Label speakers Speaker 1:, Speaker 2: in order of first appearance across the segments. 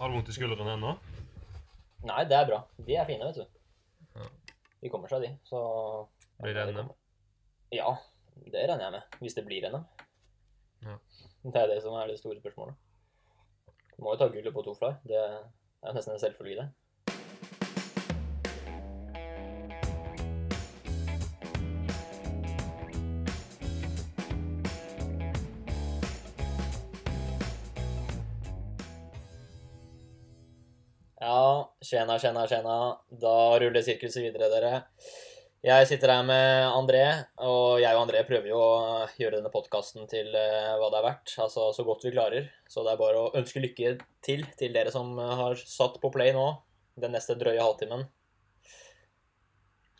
Speaker 1: Har du vondt i skulderen ennå?
Speaker 2: Nei, det er bra. De er fine, vet
Speaker 1: Ja.
Speaker 2: du. De kommer seg, de. Så
Speaker 1: Blir det NM?
Speaker 2: Ja, det regner jeg med. Hvis det blir NM.
Speaker 1: Ja.
Speaker 2: Det er det som er det store spørsmålet. Du må jo ta gullet på to fly. Det er jo nesten en selvfølge, det. Ja, tjena, tjena, tjena. Da ruller sirkuset videre, dere. Jeg sitter her med André, og jeg og André prøver jo å gjøre denne podkasten til eh, hva det er verdt. Altså så godt vi klarer. Så det er bare å ønske lykke til til dere som eh, har satt på play nå den neste drøye halvtimen.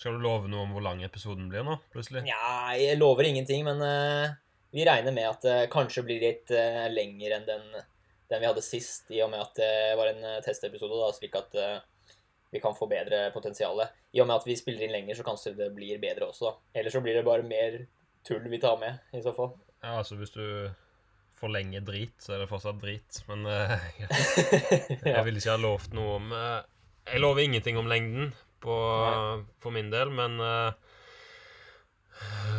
Speaker 1: Skal du love noe om hvor lang episoden blir nå, plutselig?
Speaker 2: Nja, jeg lover ingenting, men eh, vi regner med at det kanskje blir litt eh, lenger enn den, den vi hadde sist, i og med at det var en eh, testepisode, da, slik at eh, vi kan få bedre potensialet. I og med at vi spiller inn lenger, så kanskje det blir bedre også, da. Ellers så blir det bare mer tull vi tar med, i så fall.
Speaker 1: Ja, altså hvis du forlenger drit, så er det fortsatt drit. Men eh, jeg,
Speaker 2: ja.
Speaker 1: jeg ville ikke ha lovt noe om eh, Jeg lover ingenting om lengden på, for min del, men eh,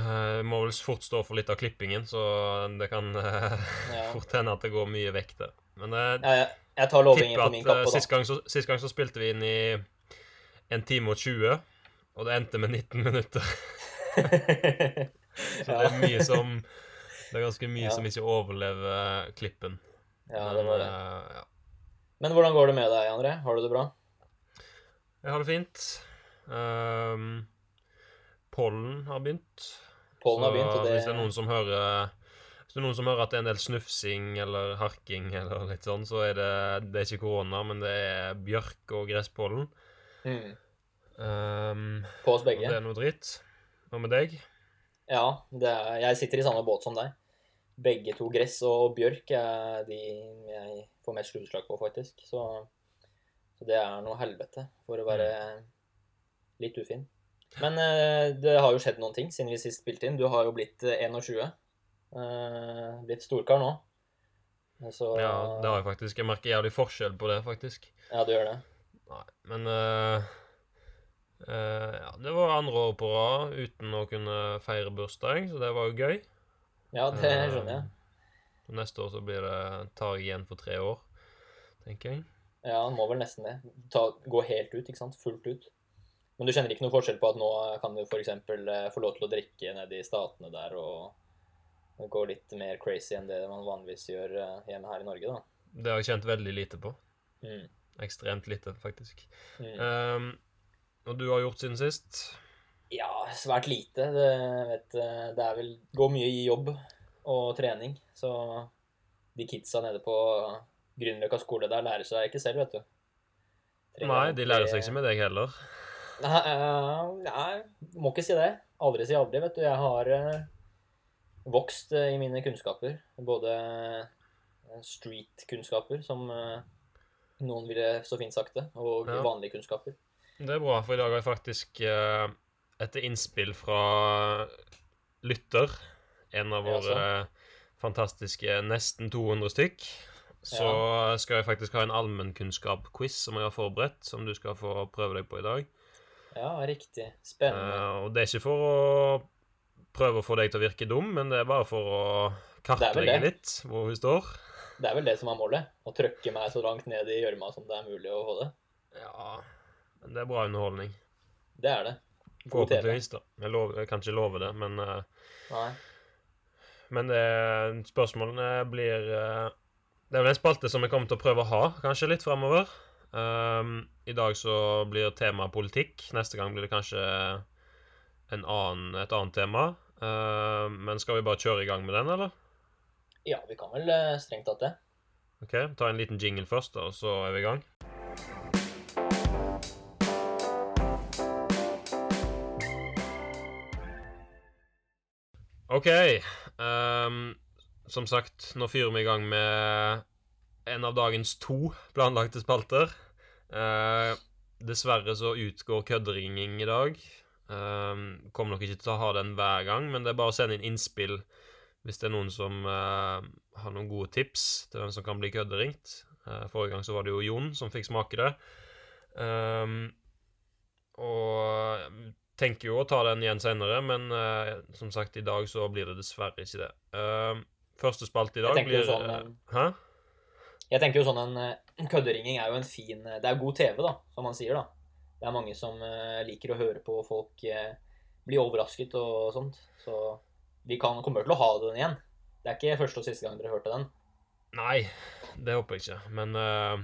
Speaker 1: jeg må vel fort stå for litt av klippingen, så det kan eh,
Speaker 2: Ja.
Speaker 1: fort hende at det går mye vekk der. Men eh,
Speaker 2: Ja, jeg, jeg
Speaker 1: tipper
Speaker 2: tar lovingen på
Speaker 1: at
Speaker 2: min
Speaker 1: eh,
Speaker 2: kappe,
Speaker 1: sist,
Speaker 2: da.
Speaker 1: gang så, sist gang så spilte vi inn i en time og 20, og det endte med 19 minutter. Så det er mye som Det er ganske mye
Speaker 2: Ja.
Speaker 1: som ikke overlever klippen.
Speaker 2: ja, det var det.
Speaker 1: eh, ja.
Speaker 2: Men hvordan går det med deg, André? Har du det bra?
Speaker 1: Jeg har det fint. Ehm, pollen har begynt.
Speaker 2: Pollen har begynt,
Speaker 1: så
Speaker 2: og det
Speaker 1: Hvis det er noen som hører hvis det er noen som hører at det er en del snufsing eller harking, eller litt sånn, så er det, det er ikke korona, men det er bjørk og gresspollen.
Speaker 2: mm,
Speaker 1: Ehm,
Speaker 2: På oss
Speaker 1: og det
Speaker 2: begge.
Speaker 1: er noe dritt. Hva med deg?
Speaker 2: Ja, det er, jeg sitter i samme båt som deg. Begge to gress og bjørk er de jeg får mest utslag på, faktisk. Så, så det er noe helvete, for å være litt ufin. Men eh, det har jo skjedd noen ting siden vi sist spilte inn. Du har jo blitt eh, 21. Eh, blitt storkar nå. Så
Speaker 1: Ja, det har jeg faktisk. Jeg merker jævlig forskjell på det, faktisk.
Speaker 2: Ja, du gjør det.
Speaker 1: Nei, men eh, eh, ja, Det var andre år på rad uten å kunne feire bursdag, så det var jo gøy.
Speaker 2: Ja, det skjønner jeg.
Speaker 1: Eh, og neste år så blir det tar jeg igjen for tre år, tenker jeg.
Speaker 2: Ja, han må vel nesten det. Ta, gå helt ut, ikke sant? Fullt ut. Men du kjenner ikke noe forskjell på at nå kan du f.eks. få lov til å drikke nede i statene der og gå litt mer crazy enn det man vanligvis gjør eh, hjemme her i Norge, da.
Speaker 1: Det har jeg kjent veldig lite på.
Speaker 2: Mm.
Speaker 1: Ekstremt lite, faktisk.
Speaker 2: Mm.
Speaker 1: Um, og du har gjort siden sist?
Speaker 2: Ja, svært lite. Det, vet, eh, det er vel går mye i jobb og trening. Så de kidsa nede på Grünerløkka skole der lærer seg ikke selv, vet du.
Speaker 1: Nei, de lærer seg ikke med deg heller.
Speaker 2: Nei, eh, nei, må ikke si det. Aldri si aldri, vet du. Jeg har eh, vokst eh, i mine kunnskaper. Både eh, street-kunnskaper, som eh, noen ville så fint sagt det, og
Speaker 1: Ja.
Speaker 2: vanlige kunnskaper.
Speaker 1: Det er bra, for i dag har jeg faktisk, eh, etter innspill fra lytter, en av
Speaker 2: Ja,
Speaker 1: våre fantastiske nesten 200 stykk, så skal jeg faktisk ha en allmennkunnskap-quiz som jeg har forberedt, som du skal få prøve deg på i dag.
Speaker 2: Ja, riktig.
Speaker 1: Eh,
Speaker 2: Spennende.
Speaker 1: og det er ikke for å prøve å få deg til å virke dum, men det er bare for å
Speaker 2: Det er vel
Speaker 1: kartlegge
Speaker 2: det.
Speaker 1: litt hvor vi står.
Speaker 2: Det er vel det som er målet? Å trøkke meg så langt ned i gjørma som det er mulig å få det.
Speaker 1: Ja, men det er bra underholdning.
Speaker 2: Det er det. God TV.
Speaker 1: Forhåpentligvis, da. Jeg, lover, jeg kan ikke love det, men eh,
Speaker 2: Nei.
Speaker 1: Men det, spørsmålene blir eh, Det er vel en spalte som jeg kommer til å prøve å ha kanskje litt framover. Um, I dag så blir temaet politikk. Neste gang blir det kanskje en annen, et annet tema. Eh, men skal vi bare kjøre i gang med den, eller?
Speaker 2: Ja, vi kan vel eh, strengt tatt det.
Speaker 1: Ok, Ta en liten jingle først, da, og så er vi i gang. OK. ehm, som sagt, nå fyrer vi i gang med en av dagens to planlagte spalter. Eh, dessverre så utgår kødderinging i dag. Ehm, kommer nok ikke til å ha den hver gang, men det er bare å sende inn innspill hvis det er noen som eh, har noen gode tips til hvem som kan bli kødderingt. Eh, forrige gang så var det jo Jon som fikk smake det. Ehm, og jeg tenker jo å ta den igjen senere, men eh, som sagt, i dag så blir det dessverre ikke det. Ehm, første spalte i dag
Speaker 2: Jeg tenker
Speaker 1: blir
Speaker 2: jo sånn,
Speaker 1: eh, Hæ?
Speaker 2: Jeg tenker jo sånn en eh, kødderinging er jo en fin eh, Det er god TV, da, som man sier, da. Det er mange som eh, liker å høre på folk eh, bli overrasket og sånt. Så vi kan, kommer til å ha den igjen. Det er ikke første og siste gang dere hørte den.
Speaker 1: Nei, det håper jeg ikke. Men eh,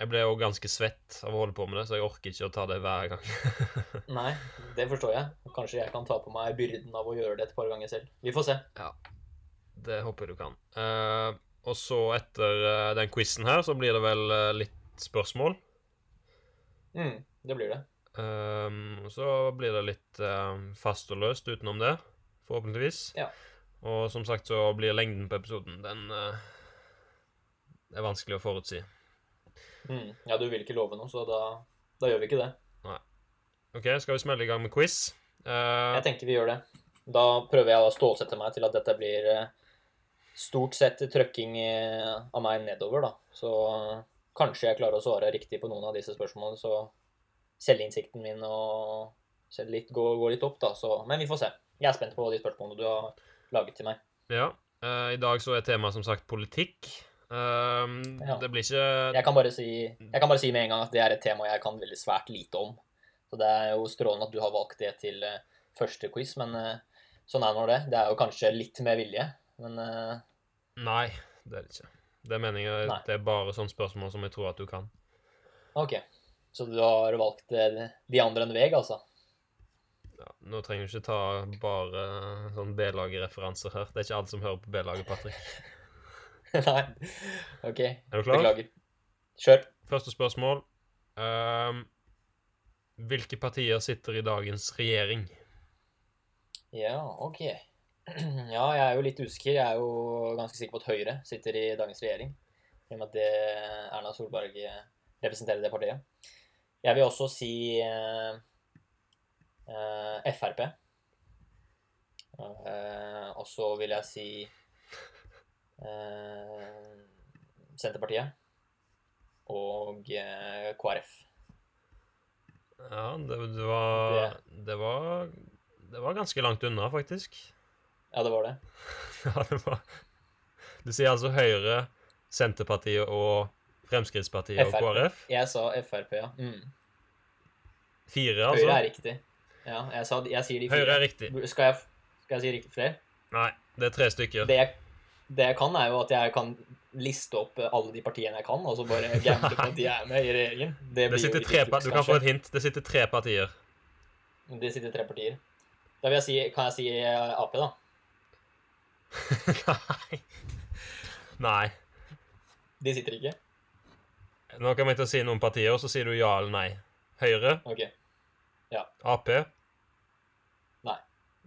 Speaker 1: jeg ble jo ganske svett av å holde på med det, så jeg orker ikke å ta det hver gang.
Speaker 2: Nei, det forstår jeg. Kanskje jeg kan ta på meg byrden av å gjøre det et par ganger selv. Vi får se.
Speaker 1: det håper jeg du kan. Eh, og så etter eh, den quizen her, så blir det vel eh, litt spørsmål.
Speaker 2: Mm, det blir det.
Speaker 1: Ehm, og så blir det litt eh, fast og løst utenom det, forhåpentligvis.
Speaker 2: Ja.
Speaker 1: Og som sagt så blir lengden på episoden Den eh, er vanskelig å forutsi.
Speaker 2: Mm. Ja, du vil ikke love noe, så da, da gjør vi ikke det.
Speaker 1: OK, skal vi smelle i gang med quiz? Eh,
Speaker 2: Jeg tenker vi gjør det. Da prøver jeg å stålsette meg til at dette blir eh, stort sett trøkking eh, av meg nedover, da. Så eh, kanskje jeg klarer å svare riktig på noen av disse spørsmålene, så selvinnsikten min og selv litt, går, går litt opp, da. Så, men vi får se. Jeg er spent på de spørsmålene du har laget til meg.
Speaker 1: Ja. eh, I dag så er temaet som sagt politikk. Ehm,
Speaker 2: Ja.
Speaker 1: Det blir ikke
Speaker 2: Jeg kan, bare si, jeg kan bare si med en gang at det er et tema jeg kan veldig svært lite om. Så det er jo strålende at du har valgt det til eh, første quiz, men eh, sånn er nå det. Det er jo kanskje litt med vilje, men eh,
Speaker 1: Nei, det er det ikke. Det er meningen
Speaker 2: Nei.
Speaker 1: det er bare sånne spørsmål som jeg tror at du kan.
Speaker 2: Ok, så du har valgt eh, de andre enn Veg, altså?
Speaker 1: Ja, nå trenger du ikke ta bare sånn B-laget-referanser her. Det er ikke alle som hører på B-laget, Patrick.
Speaker 2: Nei. Ok,
Speaker 1: Er du klar?
Speaker 2: beklager. Kjør.
Speaker 1: Første spørsmål. Ehm, hvilke partier sitter i dagens regjering?
Speaker 2: Ja, ok. Ja, jeg er jo litt usikker. Jeg er jo ganske sikker på at Høyre sitter i dagens regjering. I og med at det Erna Solberg eh, representerer det partiet. Jeg vil også si eh, eh, Frp. Eh, og så vil jeg si eh, Senterpartiet. Og eh, KrF.
Speaker 1: Ja, det, det var Det var Det var ganske langt unna, faktisk.
Speaker 2: Ja, det var det.
Speaker 1: Ja, det var Du sier altså Høyre, Senterpartiet og Fremskrittspartiet og
Speaker 2: FrP.
Speaker 1: KrF?
Speaker 2: Jeg sa Frp, ja. Mm.
Speaker 1: Fire, altså?
Speaker 2: Høyre er riktig. Ja, jeg, sa, jeg sier de fire.
Speaker 1: Høyre er riktig.
Speaker 2: Skal jeg, skal jeg si riktig flere?
Speaker 1: Nei, det er tre stykker.
Speaker 2: Det, jeg- det jeg kan, er jo at jeg kan liste opp eh, alle de partiene jeg kan, og så bare gamble på at de er med i regjeringen. Det,
Speaker 1: Det
Speaker 2: blir jo
Speaker 1: sitter
Speaker 2: litt
Speaker 1: tre
Speaker 2: juks,
Speaker 1: pa- du kan få
Speaker 2: kanskje.
Speaker 1: et hint. Det sitter tre partier.
Speaker 2: Det sitter tre partier. Da vil jeg si, kan jeg si eh, Ap, da?
Speaker 1: Nei. Nei.
Speaker 2: De sitter ikke?
Speaker 1: Nå kommer jeg til å si noen partier, og så sier du ja eller nei. Høyre,
Speaker 2: Ok.
Speaker 1: Ap.
Speaker 2: Nei.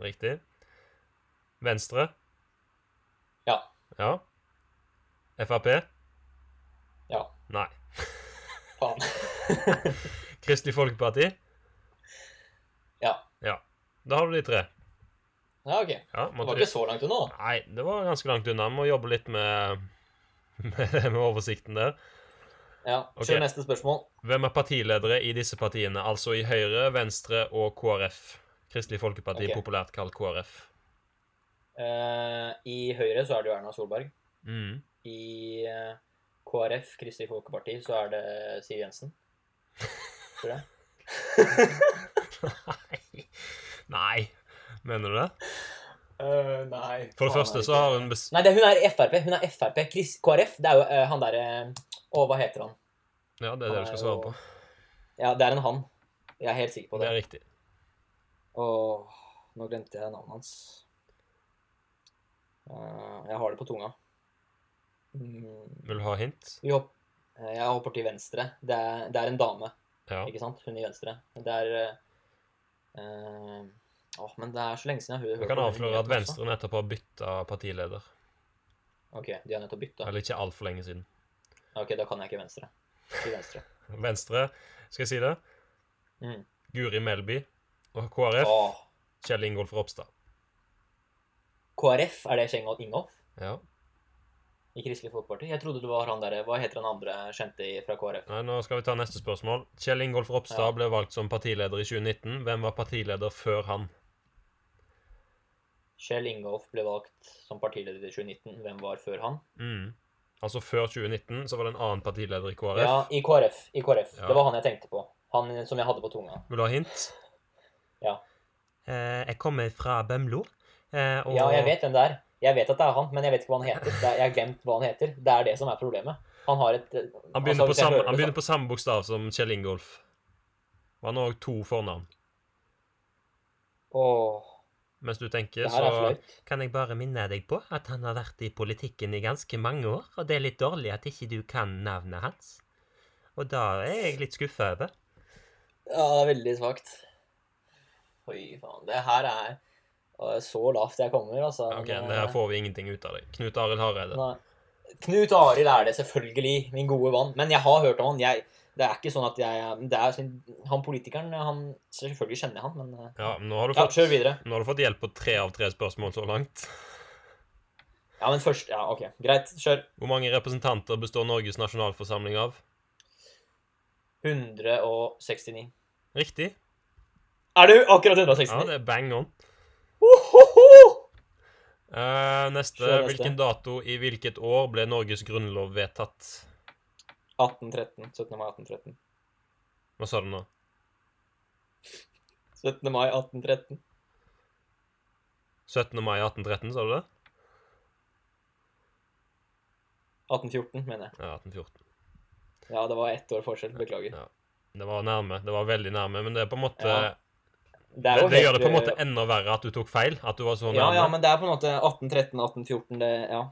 Speaker 1: Riktig. Venstre.
Speaker 2: Ja.
Speaker 1: Ja. Frp.
Speaker 2: Ja.
Speaker 1: Nei.
Speaker 2: Faen.
Speaker 1: Kristelig Folkeparti.
Speaker 2: Ja.
Speaker 1: Ja. Da har du de tre.
Speaker 2: Ja, ok. Det
Speaker 1: Ja,
Speaker 2: var ikke så langt unna, da.
Speaker 1: Nei, det var ganske langt unna. Vi må jobbe litt med, med, med oversikten der.
Speaker 2: Ja,
Speaker 1: Ok.
Speaker 2: Kjør neste spørsmål.
Speaker 1: Hvem er partiledere i disse partiene? Altså i Høyre, Venstre og KrF. Kristelig Folkeparti,
Speaker 2: Ok.
Speaker 1: populært kalt KrF.
Speaker 2: Eh, I Høyre så er det jo Erna Solberg.
Speaker 1: Mm.
Speaker 2: I eh, KrF, Kristelig Folkeparti, så er det Siv Jensen. Tror jeg.
Speaker 1: Nei. Nei. Mener du det?
Speaker 2: nei.
Speaker 1: For det første så har hun bes...
Speaker 2: Nei, det, hun er Frp. Hun er Frp. Chris, KrF, det er jo eh, han derre Å, hva heter han?
Speaker 1: Ja, det er det du skal svare på.
Speaker 2: Ja, det er en han. Jeg er helt sikker på
Speaker 1: Det
Speaker 2: det.
Speaker 1: er riktig.
Speaker 2: Åh, nå glemte jeg navnet hans. Eh, jeg har det på tunga. Mm,
Speaker 1: Vil du ha hint?
Speaker 2: vi hopp, eh, jeg hopper til venstre. Det er, det er en dame,
Speaker 1: Ja.
Speaker 2: ikke sant? Hun i venstre. Det er eh, eh, Åh, men det er så lenge siden jeg har hørt
Speaker 1: Jeg kan
Speaker 2: om den
Speaker 1: avsløre at
Speaker 2: nyheten også.
Speaker 1: Venstre nettopp har bytta partileder.
Speaker 2: Ok, de har nødt til å bytte.
Speaker 1: Eller ikke altfor lenge siden.
Speaker 2: Ok, da kan jeg ikke venstre. Til venstre.
Speaker 1: Venstre, skal jeg si det?
Speaker 2: Mm.
Speaker 1: Guri Melby og KrF.
Speaker 2: Åh,
Speaker 1: Kjell Ingolf Ropstad.
Speaker 2: KrF, er det Kjell Ingolf?
Speaker 1: Ja.
Speaker 2: i Kristelig Folkeparti. Jeg trodde det var han derre Hva heter han andre kjente i- fra KrF?
Speaker 1: Nei, nå skal vi ta neste spørsmål. Kjell Ingolf Ropstad
Speaker 2: Ja.
Speaker 1: ble valgt som partileder i 2019. Hvem var partileder før han?
Speaker 2: Kjell Ingolf ble valgt som partileder i 2019. Hvem var før han?
Speaker 1: Mm. Altså før 2019 så var det en annen partileder i KrF.
Speaker 2: Ja, i KrF. I KrF.
Speaker 1: Ja.
Speaker 2: Det var han jeg tenkte på. Han som jeg hadde på tunga.
Speaker 1: Vil du ha hint?
Speaker 2: Ja.
Speaker 1: Eh, jeg kommer fra Bømlo. eh,
Speaker 2: Ja, jeg vet hvem det er. Jeg vet at det er han, men jeg vet ikke hva han heter. Det er, jeg har glemt hva han heter. Det er det som er problemet. Han har et eh,
Speaker 1: Han begynner,
Speaker 2: Altså,
Speaker 1: på, samme, han begynner på samme bokstav som Kjell Ingolf. Og han har òg to fornavn.
Speaker 2: Åh,
Speaker 1: Mens du tenker,
Speaker 2: det her er
Speaker 1: så
Speaker 2: flaut.
Speaker 1: kan jeg bare minne deg på at han har vært i politikken i ganske mange år, og det er litt dårlig at ikke du kan navnet hans. Og da er jeg litt skuffa over.
Speaker 2: Ja, det er veldig svakt. Oi, faen. Det her er øh, så lavt jeg kommer, altså.
Speaker 1: Ok, det her får vi ingenting ut av det. Knut Arild Hareide.
Speaker 2: Nei. Knut Arild er det selvfølgelig, min gode vann. Men jeg har hørt om han. Jeg, det er ikke sånn at jeg det er, Han politikeren, han Selvfølgelig kjenner jeg han, men øh,
Speaker 1: Ja, nå har, du
Speaker 2: Ja,
Speaker 1: fått,
Speaker 2: kjør videre.
Speaker 1: nå har du fått hjelp på tre av tre spørsmål så langt.
Speaker 2: Ja, men først Ja, OK. Greit. Kjør.
Speaker 1: Hvor mange representanter består Norges nasjonalforsamling av?
Speaker 2: 169.
Speaker 1: Riktig.
Speaker 2: Er du akkurat 169?
Speaker 1: Ja, det er bang on.
Speaker 2: Ohoho!
Speaker 1: Eh, neste.
Speaker 2: Kjør neste.
Speaker 1: Hvilken dato i hvilket år ble Norges grunnlov vedtatt?
Speaker 2: 1813. 17. mai 1813.
Speaker 1: Hva sa du nå?
Speaker 2: 17. mai 1813.
Speaker 1: 17. mai 1813, sa du det?
Speaker 2: 1814, mener jeg.
Speaker 1: Ja, 1814.
Speaker 2: Ja, det var ett år forskjell. Beklager.
Speaker 1: Det var nærme. Det var veldig nærme, men det er på en måte
Speaker 2: Ja, Det
Speaker 1: det,
Speaker 2: er jo
Speaker 1: det gjør det
Speaker 2: helt,
Speaker 1: på en måte enda verre at du tok feil. At du var så
Speaker 2: Ja,
Speaker 1: nærme.
Speaker 2: ja, men det er på en måte 1813, 1814, det Ja.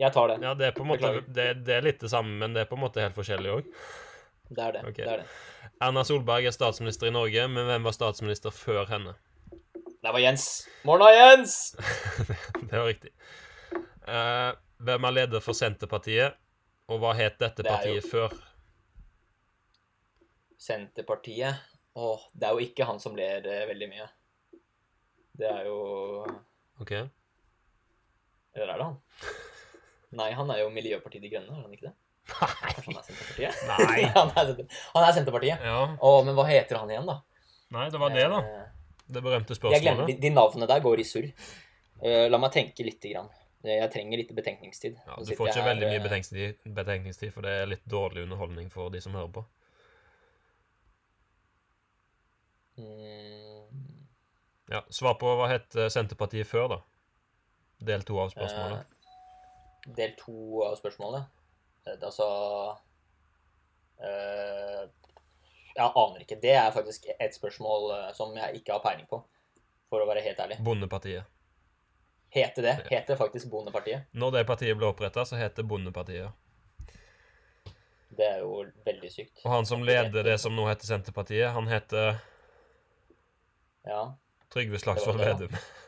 Speaker 2: Jeg tar det.
Speaker 1: Ja, det er på en måte
Speaker 2: Beklager.
Speaker 1: det, det er litt det samme, men det er på en måte helt forskjellig òg.
Speaker 2: Det er det.
Speaker 1: Ok.
Speaker 2: Det er det.
Speaker 1: Erna Solberg er statsminister i Norge, men hvem var statsminister før henne?
Speaker 2: Det var Jens. Morna, Jens!
Speaker 1: det var riktig. Eh, hvem er leder for Senterpartiet, og hva het dette
Speaker 2: Det er jo-
Speaker 1: partiet før?
Speaker 2: Senterpartiet. Åh, det er jo ikke han som ler eh, veldig mye. Det er jo
Speaker 1: Ok.
Speaker 2: Eller er det han? Nei, han er jo Miljøpartiet De Grønne, er han ikke det? Kanskje han er Senterpartiet?
Speaker 1: Nei.
Speaker 2: han, er Senter- han er Senterpartiet.
Speaker 1: Ja.
Speaker 2: Å, men hva heter han igjen, da?
Speaker 1: Nei, det var det, da.
Speaker 2: Eh,
Speaker 1: Det berømte
Speaker 2: Jeg glemmer,
Speaker 1: spørsmålet.
Speaker 2: de, de navnene der går i surr. Eh, la meg tenke litt. Grann. Eh, Jeg trenger litt betenkningstid.
Speaker 1: Ja,
Speaker 2: Nå
Speaker 1: du
Speaker 2: sitter
Speaker 1: får ikke
Speaker 2: jeg her,
Speaker 1: veldig mye
Speaker 2: eh,
Speaker 1: betenkningstid, betenkningstid, for det er litt dårlig underholdning for de som hører på.
Speaker 2: eh, mm,
Speaker 1: Ja, Svar på hva het eh, Senterpartiet før, da? Del to av spørsmålet.
Speaker 2: eh, del to av spørsmålet. Eh, det er altså eh, Jeg aner ikke. Det er faktisk et spørsmål eh, som jeg ikke har peiling på, for å være helt ærlig.
Speaker 1: Bondepartiet.
Speaker 2: Heter det heter faktisk Bondepartiet?
Speaker 1: Når det partiet ble oppretta, så het det Bondepartiet.
Speaker 2: Det er jo veldig sykt.
Speaker 1: Og han som leder det som nå heter Senterpartiet, han heter
Speaker 2: Ja.
Speaker 1: Trygve Slagsvold
Speaker 2: Det var det,
Speaker 1: Vedum.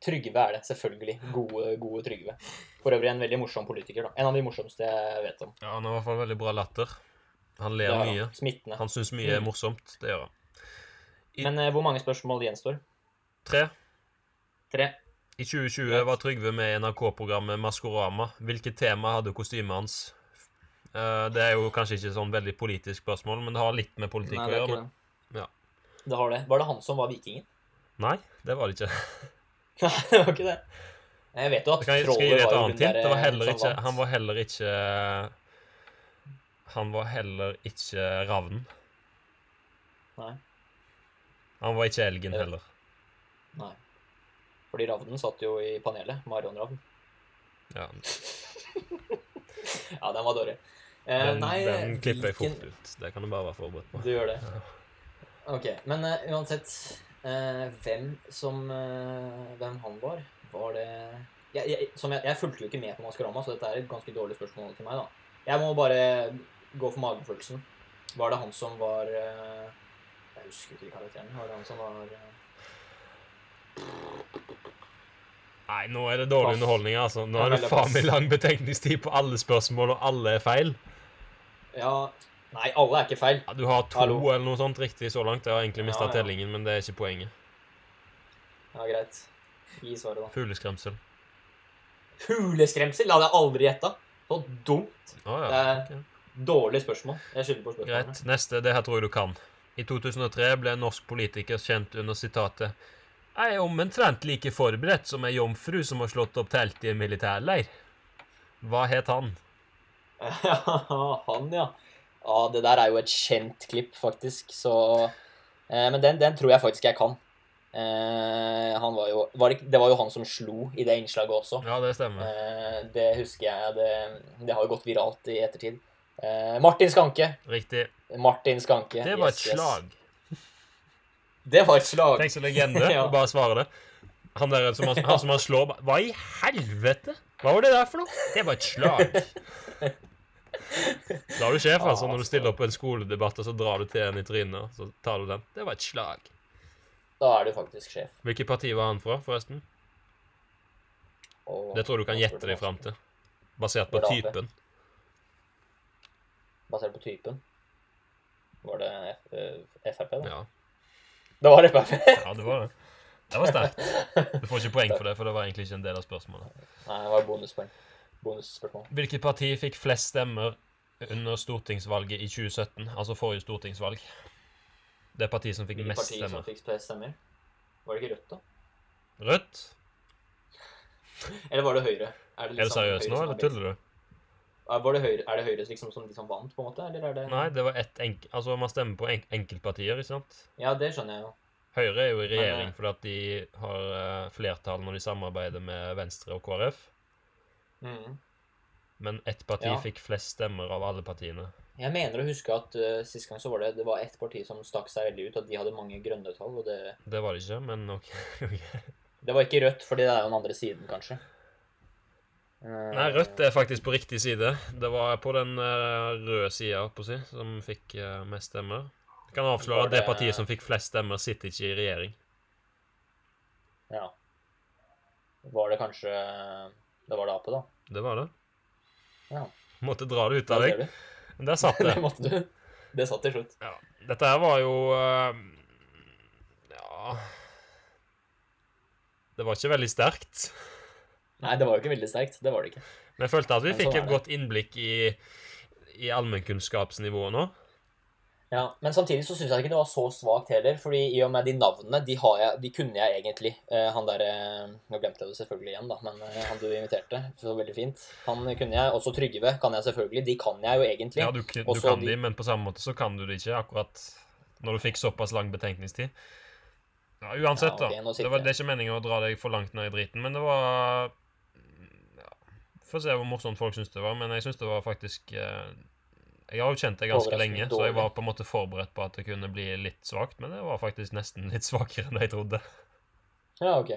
Speaker 2: Trygve er det, selvfølgelig. Gode, gode Trygve. For øvrig en veldig morsom politiker. da. En av de morsomste jeg vet om.
Speaker 1: Ja, han har i hvert fall veldig bra latter. Han
Speaker 2: Det
Speaker 1: ler
Speaker 2: har han.
Speaker 1: mye.
Speaker 2: Smittende.
Speaker 1: Han syns mye er
Speaker 2: Mm.
Speaker 1: morsomt. Det gjør han. i-
Speaker 2: Men eh, hvor mange spørsmål gjenstår?
Speaker 1: Tre.
Speaker 2: Tre.
Speaker 1: I 2020
Speaker 2: Greit.
Speaker 1: var Trygve med i NRK-programmet Maskorama. Hvilket tema hadde kostymet hans? Eh, Det er jo kanskje ikke sånn veldig politisk spørsmål, men det har litt med politikk å gjøre. men- ja.
Speaker 2: Det har det. Var det han som var vikingen?
Speaker 1: Men... Nei, det var det ikke.
Speaker 2: Nei, det var ikke det. Jeg vet jo at
Speaker 1: Skal jeg, skal jeg gi deg
Speaker 2: Troller
Speaker 1: et
Speaker 2: var jo hun
Speaker 1: annet hint? Det var
Speaker 2: eh,
Speaker 1: heller
Speaker 2: som
Speaker 1: ikke,
Speaker 2: vant.
Speaker 1: han var heller ikke Han var heller ikke ravnen.
Speaker 2: Nei.
Speaker 1: Han var ikke elgen
Speaker 2: Ja.
Speaker 1: heller.
Speaker 2: Nei. Fordi Ravnen satt jo i panelet. Marion Ravn.
Speaker 1: Ja,
Speaker 2: Ja, den var dårlig. Eh,
Speaker 1: den,
Speaker 2: nei,
Speaker 1: den klipper jeg
Speaker 2: Viken-
Speaker 1: fort ut. Det kan du bare være forberedt på.
Speaker 2: Du gjør det.
Speaker 1: Ja.
Speaker 2: Ok, men eh, uansett eh, hvem som eh, Hvem han var, var det jeg, jeg, som jeg, jeg fulgte jo ikke med på Maskorama, så dette er et ganske dårlig spørsmål til meg, da. Jeg må bare gå for magefølelsen. Var det han som var eh, Jeg husker ikke karakteren. Var det han som var eh,
Speaker 1: Nei, nå er det dårlig
Speaker 2: Pass.
Speaker 1: underholdning, altså. Nå
Speaker 2: Jeg
Speaker 1: er det
Speaker 2: velger
Speaker 1: faen
Speaker 2: pass.
Speaker 1: meg lang betenkningstid på alle spørsmål, og alle er feil.
Speaker 2: Ja Nei, alle er ikke feil.
Speaker 1: Ja, du har to
Speaker 2: Hallo.
Speaker 1: eller noe sånt riktig så langt. Jeg har egentlig mista
Speaker 2: Ja, ja.
Speaker 1: tellingen, men det er ikke poenget.
Speaker 2: Ja, greit. Gi svaret, da.
Speaker 1: Fugleskremsel.
Speaker 2: Fugleskremsel hadde jeg aldri gjetta. Så dumt.
Speaker 1: Å ja.
Speaker 2: Det er
Speaker 1: ok.
Speaker 2: Dårlig spørsmål. Jeg skylder på spørsmålene.
Speaker 1: Greit. Neste. Det her tror jeg du kan. I 2003 ble en norsk politiker kjent under sitatet Jeg er omtrent like forberedt som ei jomfru som har slått opp telt i en militærleir. Hva het han?
Speaker 2: Ja, han, ja. Ja, det der er jo et kjent klipp, faktisk, så eh, Men den, den tror jeg faktisk jeg kan. Eh, han var jo var det, det var jo han som slo i det innslaget også.
Speaker 1: Ja, det stemmer.
Speaker 2: Eh, det husker jeg. Det, det har jo gått viralt i ettertid. Eh, Martin Skanke.
Speaker 1: Riktig.
Speaker 2: Martin Skanke.
Speaker 1: Det var et
Speaker 2: Yes, yes.
Speaker 1: slag.
Speaker 2: Det var et slag.
Speaker 1: Tenk så legende
Speaker 2: Ja.
Speaker 1: å bare svare det. Han der som han, han som han slår ba- Hva i helvete? Hva var det der for noe? Det var et slag. Da er du sjef, altså. Når du stiller opp på en skoledebatt, og så drar du til en i trynet, og så tar du den. Det var et slag.
Speaker 2: Da er du faktisk sjef.
Speaker 1: Hvilket parti var han fra, forresten?
Speaker 2: Og-
Speaker 1: Det tror jeg du kan gjette deg fram til. Basert på
Speaker 2: Var det Ap?
Speaker 1: typen.
Speaker 2: Basert på typen. Var det F eh, Frp, da?
Speaker 1: Ja.
Speaker 2: Det var Frp.
Speaker 1: ja, det var det. Det var sterkt. Du får ikke poeng for det, for det var egentlig ikke en del av spørsmålet.
Speaker 2: Nei, det var bonuspoeng. Bonusspørsmål.
Speaker 1: Hvilket parti fikk flest stemmer under stortingsvalget i 2017? Altså forrige stortingsvalg. Det partiet som fikk
Speaker 2: Hvilket
Speaker 1: mest
Speaker 2: parti som
Speaker 1: stemmer.
Speaker 2: fikk flest stemmer? Var det ikke Rødt, da?
Speaker 1: Rødt?
Speaker 2: Eller var det Høyre? det
Speaker 1: Er du
Speaker 2: liksom
Speaker 1: seriøs
Speaker 2: Høyre
Speaker 1: nå,
Speaker 2: som
Speaker 1: eller
Speaker 2: er best?
Speaker 1: tuller du?
Speaker 2: Ja, Var det Høyre, er det Høyre liksom, som de som vant, på en måte? Eller er det
Speaker 1: Nei, det var ett enk... Altså, man stemmer på enk enkeltpartier, ikke sant?
Speaker 2: Ja, det skjønner jeg jo.
Speaker 1: Høyre er jo i regjering
Speaker 2: eh,
Speaker 1: fordi at de har eh, flertall når de samarbeider med Venstre og KrF.
Speaker 2: Mhm.
Speaker 1: Men ett parti
Speaker 2: Ja.
Speaker 1: fikk flest stemmer av alle partiene.
Speaker 2: Jeg mener å huske at uh, sist gang så var det, det var ett parti som stakk seg veldig ut, at de hadde mange grønne tall. Og det,
Speaker 1: Det var det ikke, men OK. ok.
Speaker 2: det var ikke Rødt, fordi det er jo den andre siden, kanskje. Eh,
Speaker 1: Nei, Rødt er faktisk på riktig side. Det var på den eh, røde sida, på å si, som fikk eh, mest stemmer. Jeg kan avsløre
Speaker 2: Var
Speaker 1: at det
Speaker 2: det-
Speaker 1: partiet som fikk flest stemmer, sitter ikke i regjering.
Speaker 2: Ja. Var det kanskje eh, Det var det Ap, da.
Speaker 1: Det var det.
Speaker 2: Ja.
Speaker 1: Måtte dra det ut av
Speaker 2: det
Speaker 1: deg. Der satt det.
Speaker 2: det måtte du. Det satt til slutt.
Speaker 1: Ja, dette her var jo eh, Ja Det var ikke veldig sterkt.
Speaker 2: Nei, det var jo ikke veldig sterkt. Det var det ikke.
Speaker 1: Men jeg følte at vi
Speaker 2: Men sånn
Speaker 1: fikk
Speaker 2: er
Speaker 1: et
Speaker 2: det.
Speaker 1: godt innblikk i, i allmennkunnskapsnivået nå.
Speaker 2: Ja, Men samtidig så syns jeg ikke det var så svakt heller. fordi i og med de navnene, de, har jeg, de kunne jeg egentlig. Eh, han derre Nå glemte jeg det selvfølgelig igjen, da, men eh, han du inviterte, så veldig fint. Han kunne jeg. Også Trygve kan jeg selvfølgelig. De kan jeg jo egentlig.
Speaker 1: Ja, du, k- du
Speaker 2: Også
Speaker 1: kan
Speaker 2: de-
Speaker 1: de, men på samme måte så kan du det ikke akkurat når du fikk såpass lang betenkningstid. Ja, uansett,
Speaker 2: Ja, ok, nå
Speaker 1: da.
Speaker 2: sitter
Speaker 1: Det, var,
Speaker 2: jeg.
Speaker 1: det er ikke meningen å dra deg for langt ned i driten, men det var ja, Får se hvor morsomt folk syns det var, men jeg syns det var faktisk eh, Jeg har jo kjent deg ganske
Speaker 2: Overraskende
Speaker 1: lenge, så jeg
Speaker 2: dårlig.
Speaker 1: var på en måte forberedt på at det kunne bli litt svakt, men det var faktisk nesten litt svakere enn jeg trodde.
Speaker 2: Ja, ok.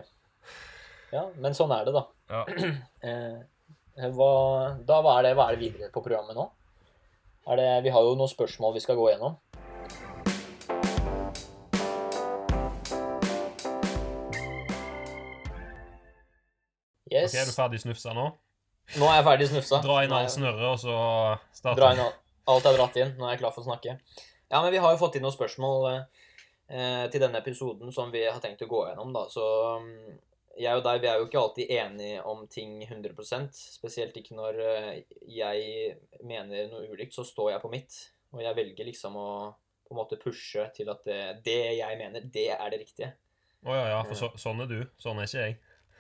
Speaker 2: Ja, men sånn er det, da.
Speaker 1: Ja.
Speaker 2: Eh, hva, da hva er, det, hva er det videre på programmet nå? Er det, vi har jo noen spørsmål vi skal gå gjennom. Yes.
Speaker 1: Ok, Er du ferdig snufsa nå?
Speaker 2: Nå er jeg ferdig snufsa.
Speaker 1: Dra inn
Speaker 2: Nå er
Speaker 1: alt
Speaker 2: jeg-
Speaker 1: snørret, og så starter
Speaker 2: Dra inn alt. Alt er dratt inn. Nå er jeg klar for å snakke. Ja, men vi har jo fått inn noen spørsmål eh, til denne episoden som vi har tenkt å gå gjennom, da. Så mm, jeg og deg, vi er jo ikke alltid enige om ting 100 Spesielt ikke når eh, jeg mener noe ulikt, så står jeg på mitt. Og jeg velger liksom å på en måte pushe til at det, det jeg mener, det er det riktige.
Speaker 1: Å ja, ja, for så, sånn er du. Sånn er ikke jeg.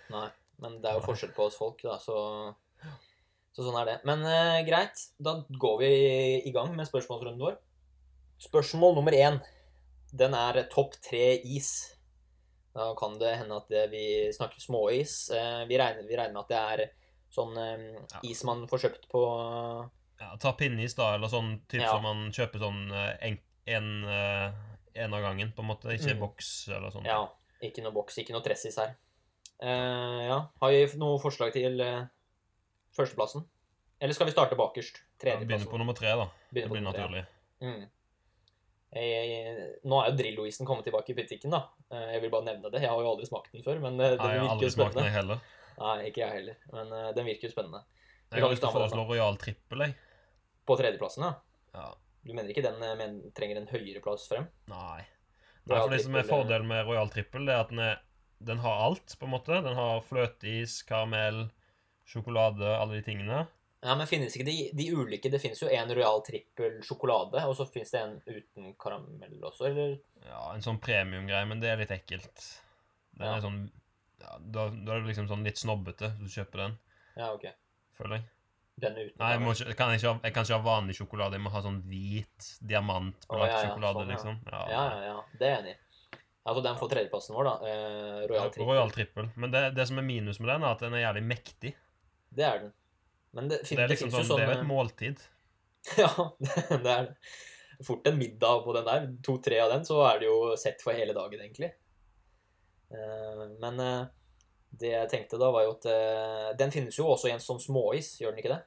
Speaker 2: Nei, men det er jo
Speaker 1: Nei.
Speaker 2: forskjell på oss folk, da, så, så sånn er det. Men eh, greit, da går vi i gang med spørsmålsrunden vår. Spørsmål nummer én, den er topp tre is. Da kan det hende at det, vi snakker småis. Eh, vi, regner, vi regner med at det er sånn eh,
Speaker 1: Ja.
Speaker 2: is man får kjøpt på
Speaker 1: Ja, ta pinneis, da, eller sånn typ
Speaker 2: Ja.
Speaker 1: som man kjøper sånn eh, en, en, eh, en av gangen, på en måte. Ikke
Speaker 2: Mm.
Speaker 1: boks eller sånn.
Speaker 2: Ja, ikke noe boks, ikke noe tressis her. Eh, ja, har vi noe forslag til eh, førsteplassen? Eller skal vi starte bakerst?
Speaker 1: Ja, Begynner på
Speaker 2: Tredjeplassen.
Speaker 1: nummer tre, da. Det
Speaker 2: Begynner på
Speaker 1: blir
Speaker 2: nummer tre, ja.
Speaker 1: naturlig.
Speaker 2: Mm. Jeg, nå er jo Drillo-isen kommet tilbake i butikken, da. Eh, Jeg vil bare nevne det. Jeg har jo aldri smakt den før, men eh, den
Speaker 1: Nei, jeg har
Speaker 2: virker
Speaker 1: aldri
Speaker 2: jo
Speaker 1: smakt den,
Speaker 2: spennende.
Speaker 1: jeg heller.
Speaker 2: Nei, ikke jeg heller, men eh, den virker jo spennende. Vi
Speaker 1: Jeg
Speaker 2: kan
Speaker 1: har lyst til å
Speaker 2: ta med den,
Speaker 1: foreslå Royal Trippel, jeg.
Speaker 2: da. På tredjeplassen, ja.
Speaker 1: Ja.
Speaker 2: Du mener ikke den eh, men, trenger en høyere plass frem?
Speaker 1: Nei. Nei,
Speaker 2: Royal
Speaker 1: for det som er
Speaker 2: Trippel, eh,
Speaker 1: fordelen med Royal Trippel, det er at den, er, den har alt, på en måte. Den har fløteis, karamell, sjokolade, alle de tingene.
Speaker 2: Ja, men finnes ikke de, de ulike? Det finnes jo en Royal Trippel sjokolade, og så finnes det en uten karamell også, eller?
Speaker 1: Ja, en sånn premiumgreie, men det er litt ekkelt. Den
Speaker 2: Ja.
Speaker 1: er sånn ja, da, da er du liksom sånn litt snobbete hvis du kjøper den,
Speaker 2: Ja, ok.
Speaker 1: føler jeg.
Speaker 2: Den uten
Speaker 1: Nei, jeg, må ikke, jeg, kan ikke ha, jeg kan ikke ha vanlig sjokolade. Jeg må ha sånn hvit
Speaker 2: Å,
Speaker 1: diamantbelagt
Speaker 2: ja, ja,
Speaker 1: sjokolade,
Speaker 2: sånn, ja.
Speaker 1: liksom. Ja,
Speaker 2: Ja, ja, ja. Det er jeg enig i. Altså, den får tredjeplassen vår, da. Eh, Royal Trippel.
Speaker 1: Royal Trippel. Men det, det som er minus med den, er at den er jævlig mektig.
Speaker 2: Det er den. Men det, fin-
Speaker 1: Det er liksom
Speaker 2: finnes
Speaker 1: sånn, det er
Speaker 2: jo
Speaker 1: jo
Speaker 2: sånne
Speaker 1: et måltid.
Speaker 2: Ja, det er det. Fort en middag på den der. To-tre av den, så er det jo sett for hele dagen, egentlig. Eh, Men eh, det jeg tenkte da, var jo at eh, Den finnes jo også i en sånn småis, gjør den ikke det?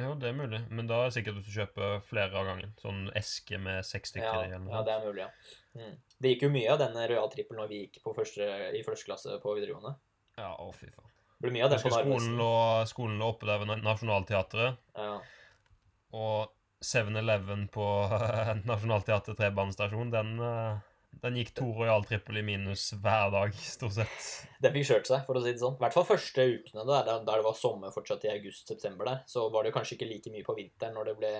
Speaker 1: Jo, det er mulig, men da er det sikkert at du kjøper flere av gangen. Sånn eske med seks stykker
Speaker 2: Ja,
Speaker 1: i. eller noe
Speaker 2: ja,
Speaker 1: sånt.
Speaker 2: det er mulig, ja. Mm. Det gikk jo mye av den Royal Trippel når vi gikk på første, i første klasse på videregående.
Speaker 1: Ja, å fy faen.
Speaker 2: Det sånn ble mye av
Speaker 1: Jeg
Speaker 2: den på
Speaker 1: husker skolen
Speaker 2: Narvesen.
Speaker 1: lå, skolen lå oppe der ved Na- Nationaltheatret,
Speaker 2: Ja.
Speaker 1: og 7-Eleven på Nationaltheatret T-banestasjon, den, eh, den gikk to Royal Trippel i minus hver dag, stort sett.
Speaker 2: Den fikk kjørt seg, for å si det sånn. I hvert fall første ukene, der, der- der det var sommer fortsatt i august-september der, så var det jo kanskje ikke like mye på vinteren når det ble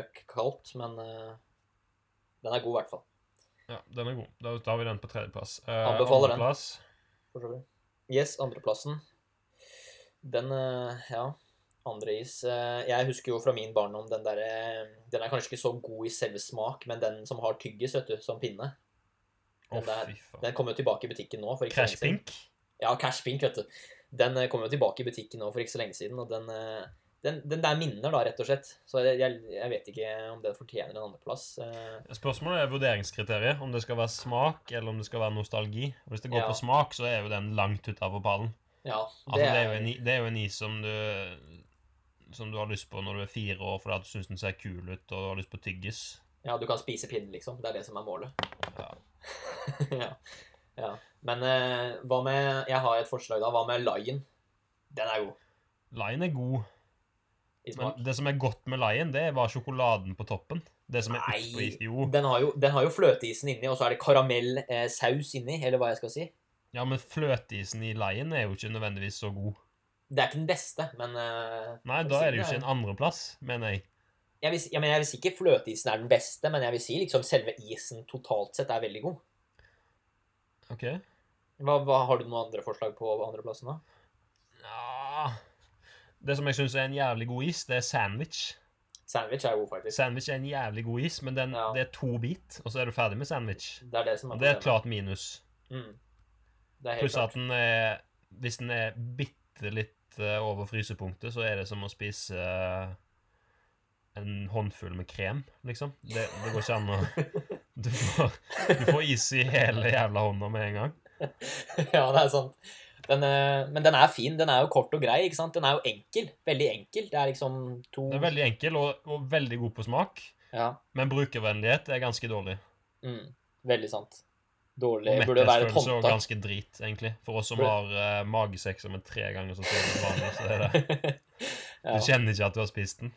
Speaker 2: møkk kaldt, men eh, den er god i hvert fall.
Speaker 1: Ja, den er god. Da tar vi den på tredjeplass. Eh,
Speaker 2: Anbefaler den.
Speaker 1: andreplass.
Speaker 2: For så vidt. Yes, andreplassen. Den, eh, ja, andre is. Eh, Jeg husker jo fra min barndom den derre Den er kanskje ikke så god i selve smak, men den som har tyggis, vet du, som pinne.
Speaker 1: Å,
Speaker 2: Den der-
Speaker 1: fy faen.
Speaker 2: Den kommer jo tilbake i butikken nå. for ikke så lenge
Speaker 1: Crash
Speaker 2: siden.
Speaker 1: Pink?
Speaker 2: Ja, Cash Pink, vet du. Den eh, kom jo tilbake i butikken nå for ikke så lenge siden, og den, eh, den, den der minner da, rett og slett. Så jeg, jeg, jeg vet ikke om den fortjener en andreplass. Eh,
Speaker 1: Spørsmålet er vurderingskriteriet. Om det skal være smak, eller om det skal være nostalgi. Og Hvis det går
Speaker 2: Ja.
Speaker 1: på smak, så er jo den langt utafor pallen.
Speaker 2: Ja,
Speaker 1: Altså, det, er jo en, i- det er jo en is som du Som du har lyst på når du er fire år fordi at du syns den ser kul ut og du har lyst på tyggis.
Speaker 2: Ja, du kan spise pinnen, liksom. Det er det som er målet.
Speaker 1: Ja.
Speaker 2: ja. ja. Men eh, hva med Jeg har et forslag, da. Hva med Lion? Den er god
Speaker 1: Lion er god,
Speaker 2: i smak.
Speaker 1: men det som er godt med Lion, det er bare sjokoladen på toppen. Det som er
Speaker 2: Nei.
Speaker 1: utpå is. Jo.
Speaker 2: Den har, jo, den har jo fløteisen inni, og så er det karamellsaus inni, eller hva jeg skal si.
Speaker 1: Ja, men fløteisen i Lion er jo ikke nødvendigvis så god.
Speaker 2: Det er ikke den beste, men eh,
Speaker 1: Nei, da er det jo ikke en andreplass, mener jeg.
Speaker 2: Jeg vil, si- ja, men jeg vil si ikke fløteisen er den beste, men jeg vil si liksom selve isen totalt sett er veldig god.
Speaker 1: OK?
Speaker 2: Hva, hva Har du noen andre forslag på andreplassen, da?
Speaker 1: Ja. Det som jeg syns er en jævlig god is, det er sandwich.
Speaker 2: Sandwich er god, faktisk.
Speaker 1: Sandwich er en jævlig god is, men den,
Speaker 2: Ja.
Speaker 1: det er to bit, og så er du ferdig med sandwich.
Speaker 2: Det er det som
Speaker 1: Og
Speaker 2: er
Speaker 1: det er et
Speaker 2: problemet.
Speaker 1: klart minus.
Speaker 2: Mm. Det er helt
Speaker 1: Pluss at
Speaker 2: klart.
Speaker 1: den er Hvis den er bitte litt eh, over frysepunktet, så er det som å spise eh, en håndfull med krem, liksom. Det, det går ikke an å du får, du får is i hele jævla hånda med en gang.
Speaker 2: ja, det er sant. Den, eh, men den er fin. Den er jo kort og grei, ikke sant? Den er jo enkel. Veldig enkel. Det er liksom to
Speaker 1: Den er veldig enkel og, og veldig god på smak,
Speaker 2: Ja.
Speaker 1: men brukervennlighet er ganske dårlig.
Speaker 2: Mm. Veldig sant. Dårlig
Speaker 1: Og
Speaker 2: Burde være et
Speaker 1: metthetsfølelse er
Speaker 2: håndtak.
Speaker 1: ganske drit, egentlig. For oss som
Speaker 2: Burde-
Speaker 1: har eh, magesekk som er tre ganger så stor som vanlig. Så er det,
Speaker 2: ja.
Speaker 1: du kjenner ikke at du har spist den.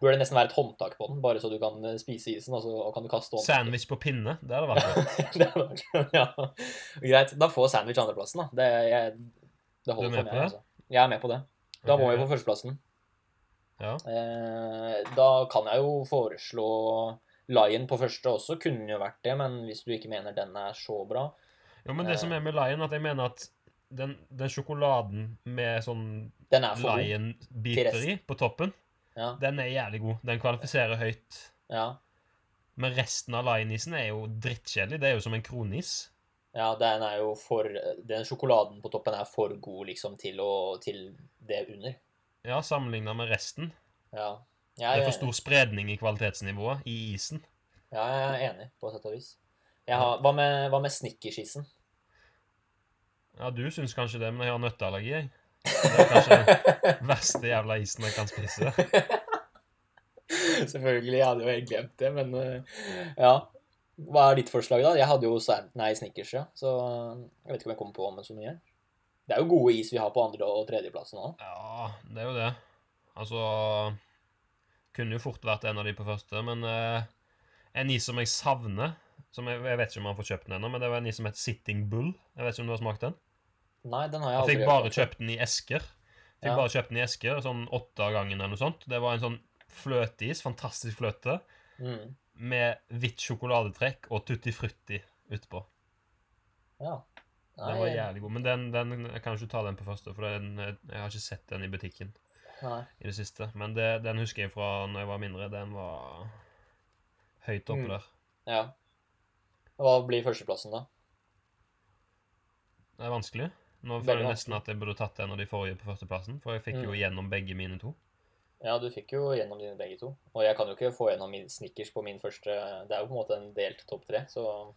Speaker 2: Burde nesten være et håndtak på den, bare så du kan eh, spise isen, og så kan du kaste håndtaket.
Speaker 1: Sandwich på pinne, det hadde vært godt.
Speaker 2: Det var ikke- ja. Greit. Da får sandwich andreplassen, da. Det, jeg, det holder
Speaker 1: Du er med
Speaker 2: for meg.
Speaker 1: på det?
Speaker 2: Altså. Jeg er med på det. Da må vi på førsteplassen.
Speaker 1: Ja.
Speaker 2: Eh, da kan jeg jo foreslå Lion på første også. Kunne jo vært det, men hvis du ikke mener den er så bra
Speaker 1: Jo, men det som er med Lion, at jeg mener at den, den sjokoladen med sånn
Speaker 2: Den er for god.
Speaker 1: Lion-biter i på toppen,
Speaker 2: Ja.
Speaker 1: den er jævlig god. Den kvalifiserer høyt.
Speaker 2: Ja.
Speaker 1: Men resten av Lion-isen er jo drittkjedelig. Det er jo som en kronis.
Speaker 2: ja, den er jo for Den sjokoladen på toppen er for god liksom til, å, til det under.
Speaker 1: Ja, sammenligna med resten.
Speaker 2: Ja.
Speaker 1: Det
Speaker 2: Jeg,
Speaker 1: er for stor spredning i kvalitetsnivået i isen.
Speaker 2: Ja, jeg er enig, på sett og vis. Jeg har, hva med, hva med snickersisen?
Speaker 1: Ja, du syns kanskje det, men jeg har nøtteallergi, jeg. Det er kanskje den verste jævla isen jeg kan spise.
Speaker 2: Selvfølgelig, jeg hadde jo helt glemt det, men eh, ja. Hva er ditt forslag, da? Jeg hadde jo sand, nei, Snickers, ja. Så eh, jeg vet ikke om jeg kommer på med så mye. Det er jo gode is vi har på andre- og tredjeplassen òg.
Speaker 1: Ja, det er jo det. Altså Kunne jo fort vært en av de på første, men eh, en is som jeg savner som jeg, jeg vet ikke om jeg har fått kjøpt den ennå, men det var en is som het Sitting Bull. Jeg vet ikke om du har smakt den?
Speaker 2: Nei, den har jeg
Speaker 1: Jeg
Speaker 2: aldri
Speaker 1: fikk
Speaker 2: hørt
Speaker 1: bare
Speaker 2: om.
Speaker 1: kjøpt den i esker. Fikk
Speaker 2: Ja.
Speaker 1: bare kjøpt den i esker, sånn åtte av gangen eller noe sånt. Det var en sånn fløteis, fantastisk fløte,
Speaker 2: Mm.
Speaker 1: med hvitt sjokoladetrekk og tutti frutti utpå.
Speaker 2: Ja. Nei,
Speaker 1: Den var jævlig god. Men den, den jeg kan ikke ta den på første, for den, jeg har ikke sett den i butikken
Speaker 2: Nei.
Speaker 1: i det siste. Men det, den husker jeg fra når jeg var mindre. Den var høyt oppe
Speaker 2: Mm.
Speaker 1: der.
Speaker 2: Ja. Hva blir førsteplassen, da?
Speaker 1: Det er vanskelig. Nå
Speaker 2: Veldig
Speaker 1: føler jeg
Speaker 2: vanskelig.
Speaker 1: nesten at jeg burde tatt en av de forrige på førsteplassen, for jeg fikk jo
Speaker 2: Mm.
Speaker 1: gjennom begge mine to.
Speaker 2: Ja, du fikk jo gjennom dine begge to. Og jeg kan jo ikke få gjennom min snickers på min første Det er jo på en måte en delt topp tre, så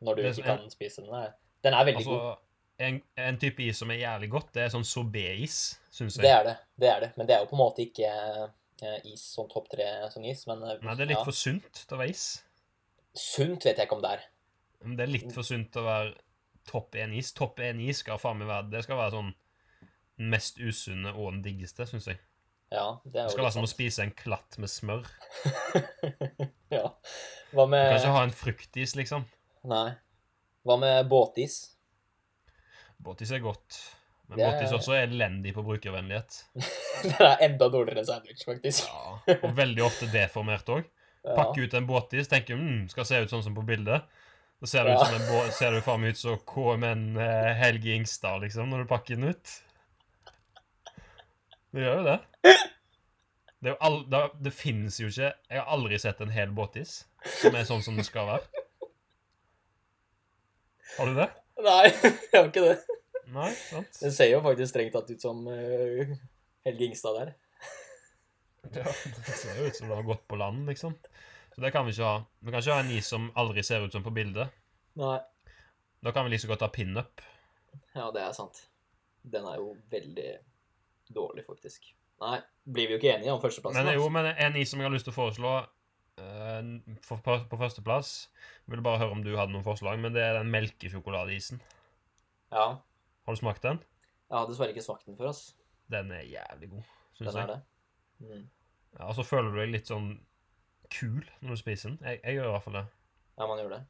Speaker 2: når du
Speaker 1: Det som
Speaker 2: ikke
Speaker 1: er-
Speaker 2: kan spise den er- Den er veldig god.
Speaker 1: Altså, en, en type is som er jævlig godt, det er sånn sorbet-is, syns jeg.
Speaker 2: Det er det. Det er det. Men det er jo på en måte ikke eh, is sånn topp tre sånn is, men eh,
Speaker 1: Nei, det er litt
Speaker 2: ja.
Speaker 1: for sunt til å være is.
Speaker 2: Sunt vet jeg ikke om det er.
Speaker 1: Men det er
Speaker 2: Mm.
Speaker 1: litt for sunt til å være topp én is. Topp én is skal faen meg være Det skal være sånn den mest usunne og den diggeste, syns jeg.
Speaker 2: Ja, det er
Speaker 1: Det
Speaker 2: jo
Speaker 1: skal være
Speaker 2: litt
Speaker 1: som å
Speaker 2: sånn. sant.
Speaker 1: spise en klatt med smør. Du
Speaker 2: ja. Hva med
Speaker 1: kan ikke ha en fruktis, liksom.
Speaker 2: Nei. Hva med båtis?
Speaker 1: Båtis er godt. Men
Speaker 2: Det er-
Speaker 1: båtis også er elendig på brukervennlighet.
Speaker 2: Den er enda dårligere enn sandwich, faktisk.
Speaker 1: Ja, Og veldig ofte deformert òg.
Speaker 2: Ja.
Speaker 1: Pakke ut en båtis, tenker mm, skal se ut sånn som på bildet. Så ser det
Speaker 2: Ja.
Speaker 1: ut som en bå ser det faen meg ut som KMN eh, Helge Ingstad, liksom, når du pakker den ut. Det gjør jo det. Det, er jo all, det, det finnes jo ikke Jeg har aldri sett en hel båtis som er sånn som den skal være. Har du det?
Speaker 2: Nei, jeg har ikke det.
Speaker 1: Nei? Sant?
Speaker 2: Den ser jo faktisk strengt tatt ut som eh, Helge Ingstad der.
Speaker 1: Ja, det ser jo ut som det har gått på land, liksom. Så det kan vi ikke ha. Vi kan ikke ha en is som aldri ser ut som på bildet.
Speaker 2: Nei.
Speaker 1: Da kan vi like så godt ha pinup.
Speaker 2: Ja, det er sant. Den er jo veldig dårlig, faktisk. Nei, blir vi jo ikke enige om førsteplassen. altså.
Speaker 1: Men
Speaker 2: da.
Speaker 1: jo, men en is som jeg har lyst til å foreslå eh, for, på, på førsteplass Jeg ville bare høre om du hadde noen forslag, men det er den melkesjokoladeisen.
Speaker 2: Ja.
Speaker 1: Har du smakt den?
Speaker 2: Jeg har dessverre ikke smakt den før, ass.
Speaker 1: Den er jævlig god, syns
Speaker 2: Den
Speaker 1: jeg.
Speaker 2: er det. Mm.
Speaker 1: Ja, og så føler du deg litt sånn kul når du spiser den. Jeg, jeg gjør i hvert fall det.
Speaker 2: Ja, man gjør det.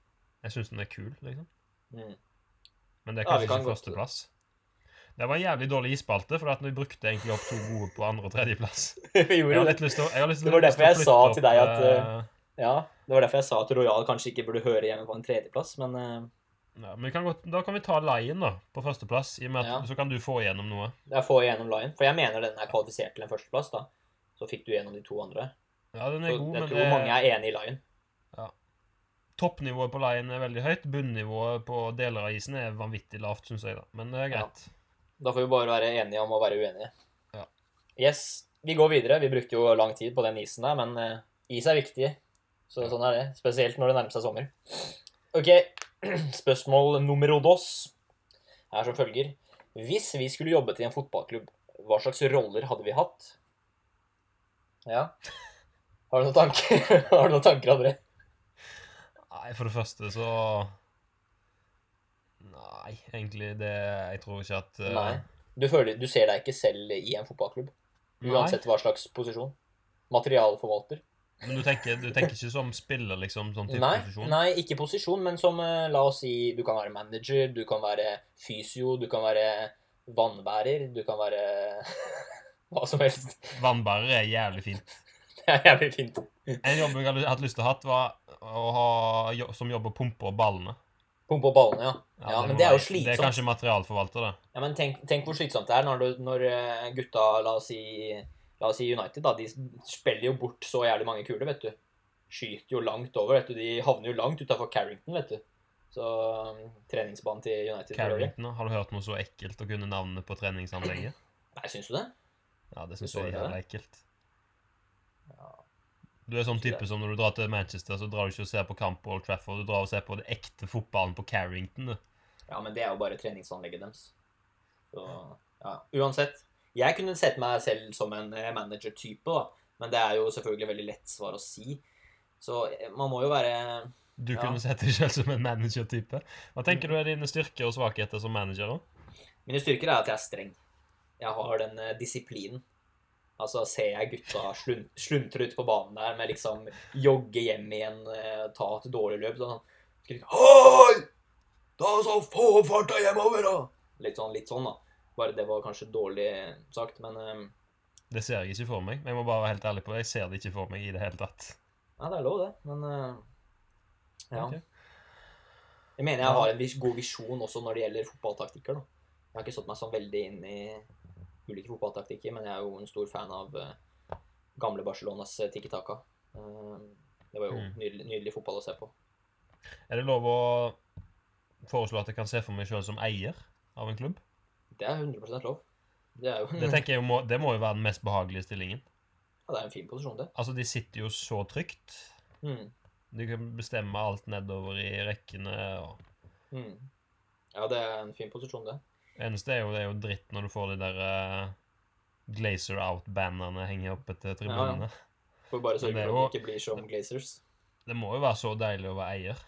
Speaker 1: Jeg syns den er kul, liksom.
Speaker 2: Mm.
Speaker 1: Men det er
Speaker 2: Ja, vi
Speaker 1: kanskje
Speaker 2: kan
Speaker 1: ikke
Speaker 2: godt-
Speaker 1: førsteplass. Det var en jævlig dårlig isspalte, for at vi brukte egentlig opp to gode på andre- og tredjeplass.
Speaker 2: vi
Speaker 1: Jeg
Speaker 2: gjorde
Speaker 1: har
Speaker 2: det.
Speaker 1: litt lyst til å, jeg har lyst til,
Speaker 2: Det
Speaker 1: lyst
Speaker 2: var
Speaker 1: til
Speaker 2: derfor jeg sa
Speaker 1: flytte
Speaker 2: til deg
Speaker 1: opp,
Speaker 2: at,
Speaker 1: eh,
Speaker 2: Ja, det var derfor jeg sa at Royal kanskje ikke burde høre hjemme på en tredjeplass, men eh,
Speaker 1: ja, men vi kan godt, Da kan vi ta Lion da, på førsteplass, i og med at
Speaker 2: Ja.
Speaker 1: så kan du få igjennom noe.
Speaker 2: jeg får igjennom Lion. For jeg mener den er kvalifisert til en førsteplass, da. Så fikk du gjennom de to andre.
Speaker 1: Ja, den
Speaker 2: Så
Speaker 1: er
Speaker 2: jeg
Speaker 1: god, men
Speaker 2: tror
Speaker 1: det,
Speaker 2: mange er enig i Lion.
Speaker 1: toppnivået på Lion er veldig høyt. Bunnivået på deler av isen er vanvittig lavt, syns jeg. da. Men det er
Speaker 2: Ja.
Speaker 1: greit.
Speaker 2: Da får vi bare være enige om å være uenige.
Speaker 1: Ja.
Speaker 2: Yes, vi går videre. Vi brukte jo lang tid på den isen der, men eh, is er viktig. Så sånn er det. Spesielt når det nærmer seg sommer. OK, spørsmål nummer dos er som følger. Hvis vi skulle jobbet i en fotballklubb, hva slags roller hadde vi hatt? Ja. Har du noen tanker, Har du noen tanker André?
Speaker 1: Nei, for det første så Nei, egentlig det Jeg tror ikke at eh,
Speaker 2: Nei. Du, føler, du ser deg ikke selv i en fotballklubb?
Speaker 1: nei.
Speaker 2: Uansett hva slags posisjon? Materialforvalter?
Speaker 1: Men du tenker, du tenker ikke som spiller, liksom? Sånn type
Speaker 2: Nei,
Speaker 1: posisjon?
Speaker 2: nei, ikke posisjon, men som eh, La oss si du kan være manager, du kan være fysio, du kan være vannbærer, du kan være hva som helst.
Speaker 1: Vannbærer er jævlig fint.
Speaker 2: Det er jævlig fint.
Speaker 1: En jobb jeg hadde hatt lyst til å hatt, var å ha jo- som jobb å pumpe ballene.
Speaker 2: Pumpe opp ballene, ja. Ja,
Speaker 1: må
Speaker 2: men det er jo
Speaker 1: være- Det er
Speaker 2: slitsomt.
Speaker 1: kanskje materialforvalter, det.
Speaker 2: ja men tenk, tenk hvor slitsomt det er når, du, når eh, gutta, la oss si La oss si United, da. De spiller jo bort så jævlig mange kuler, vet du. Skyter jo langt over, vet du. De havner jo langt utafor Carrington, vet du. Så um, treningsbanen til United for øvrig.
Speaker 1: Carrington, har du hørt noe så ekkelt å kunne navnet på treningsanlegget?
Speaker 2: Nei, syns du det?
Speaker 1: Ja, det syns
Speaker 2: Du så
Speaker 1: jeg er
Speaker 2: det,
Speaker 1: jævlig
Speaker 2: det?
Speaker 1: ekkelt.
Speaker 2: Ja.
Speaker 1: Du er sånn
Speaker 2: Ikke
Speaker 1: type
Speaker 2: det.
Speaker 1: som når du drar til Manchester, så drar du ikke og ser på kamp på Old Trafford, du drar og ser på det ekte fotballen på Carrington. du.
Speaker 2: Ja, men det er jo bare treningsanlegget deres. Så, ja. Uansett. Jeg kunne sett meg selv som en eh, manager-type, da. Men det er jo selvfølgelig veldig lett svar å si. Så eh, man må jo være
Speaker 1: Du
Speaker 2: Ja. Mm.
Speaker 1: kunne sett deg selv som en manager-type. Hva tenker du er dine styrker og svakheter som manager? da?
Speaker 2: Mine styrker er at jeg er streng. Jeg har den eh, disiplinen. Altså, ser jeg gutta slun sluntre ut på banen der med liksom jogge hjem igjen, eh, ta et dårlig løp, sånn skriker Hei! Ta så få farta hjemover, da! Litt sånn, litt sånn, da. Bare det var kanskje dårlig sagt, men eh,
Speaker 1: Det ser jeg ikke for meg. Jeg må bare være helt ærlig på det. Jeg ser det ikke for meg i det hele tatt.
Speaker 2: Nei, det er lov, det. Men eh, ja.
Speaker 1: Ok.
Speaker 2: Jeg mener jeg har en vis- god visjon også når det gjelder fotballtaktikker. da. Jeg har ikke satt meg sånn veldig inn i ulike fotballtaktikker, men jeg er jo en stor fan av eh, gamle Barcelonas eh, Tiki Taka. Eh, det var jo
Speaker 1: Mm.
Speaker 2: nydelig, nydelig fotball å se på.
Speaker 1: Er det lov å foreslå at jeg kan se for meg sjøl som eier av en klubb?
Speaker 2: Det er 100 lov. Det er jo en,
Speaker 1: Det tenker jeg jo må, det må jo være den mest behagelige stillingen.
Speaker 2: ja, det er en fin posisjon, det.
Speaker 1: Altså, de sitter jo så trygt.
Speaker 2: Mm.
Speaker 1: De kan bestemme alt nedover i rekkene. og...
Speaker 2: Mm. Ja, det er en fin posisjon, det.
Speaker 1: Eneste er jo, det er jo dritt når du får de der eh, Glazer Out-bandene henge oppe til tribunene.
Speaker 2: Får bare
Speaker 1: Men
Speaker 2: sørge
Speaker 1: det er
Speaker 2: for
Speaker 1: jo-
Speaker 2: at det ikke blir som Glazers.
Speaker 1: Det må jo være så deilig å være eier.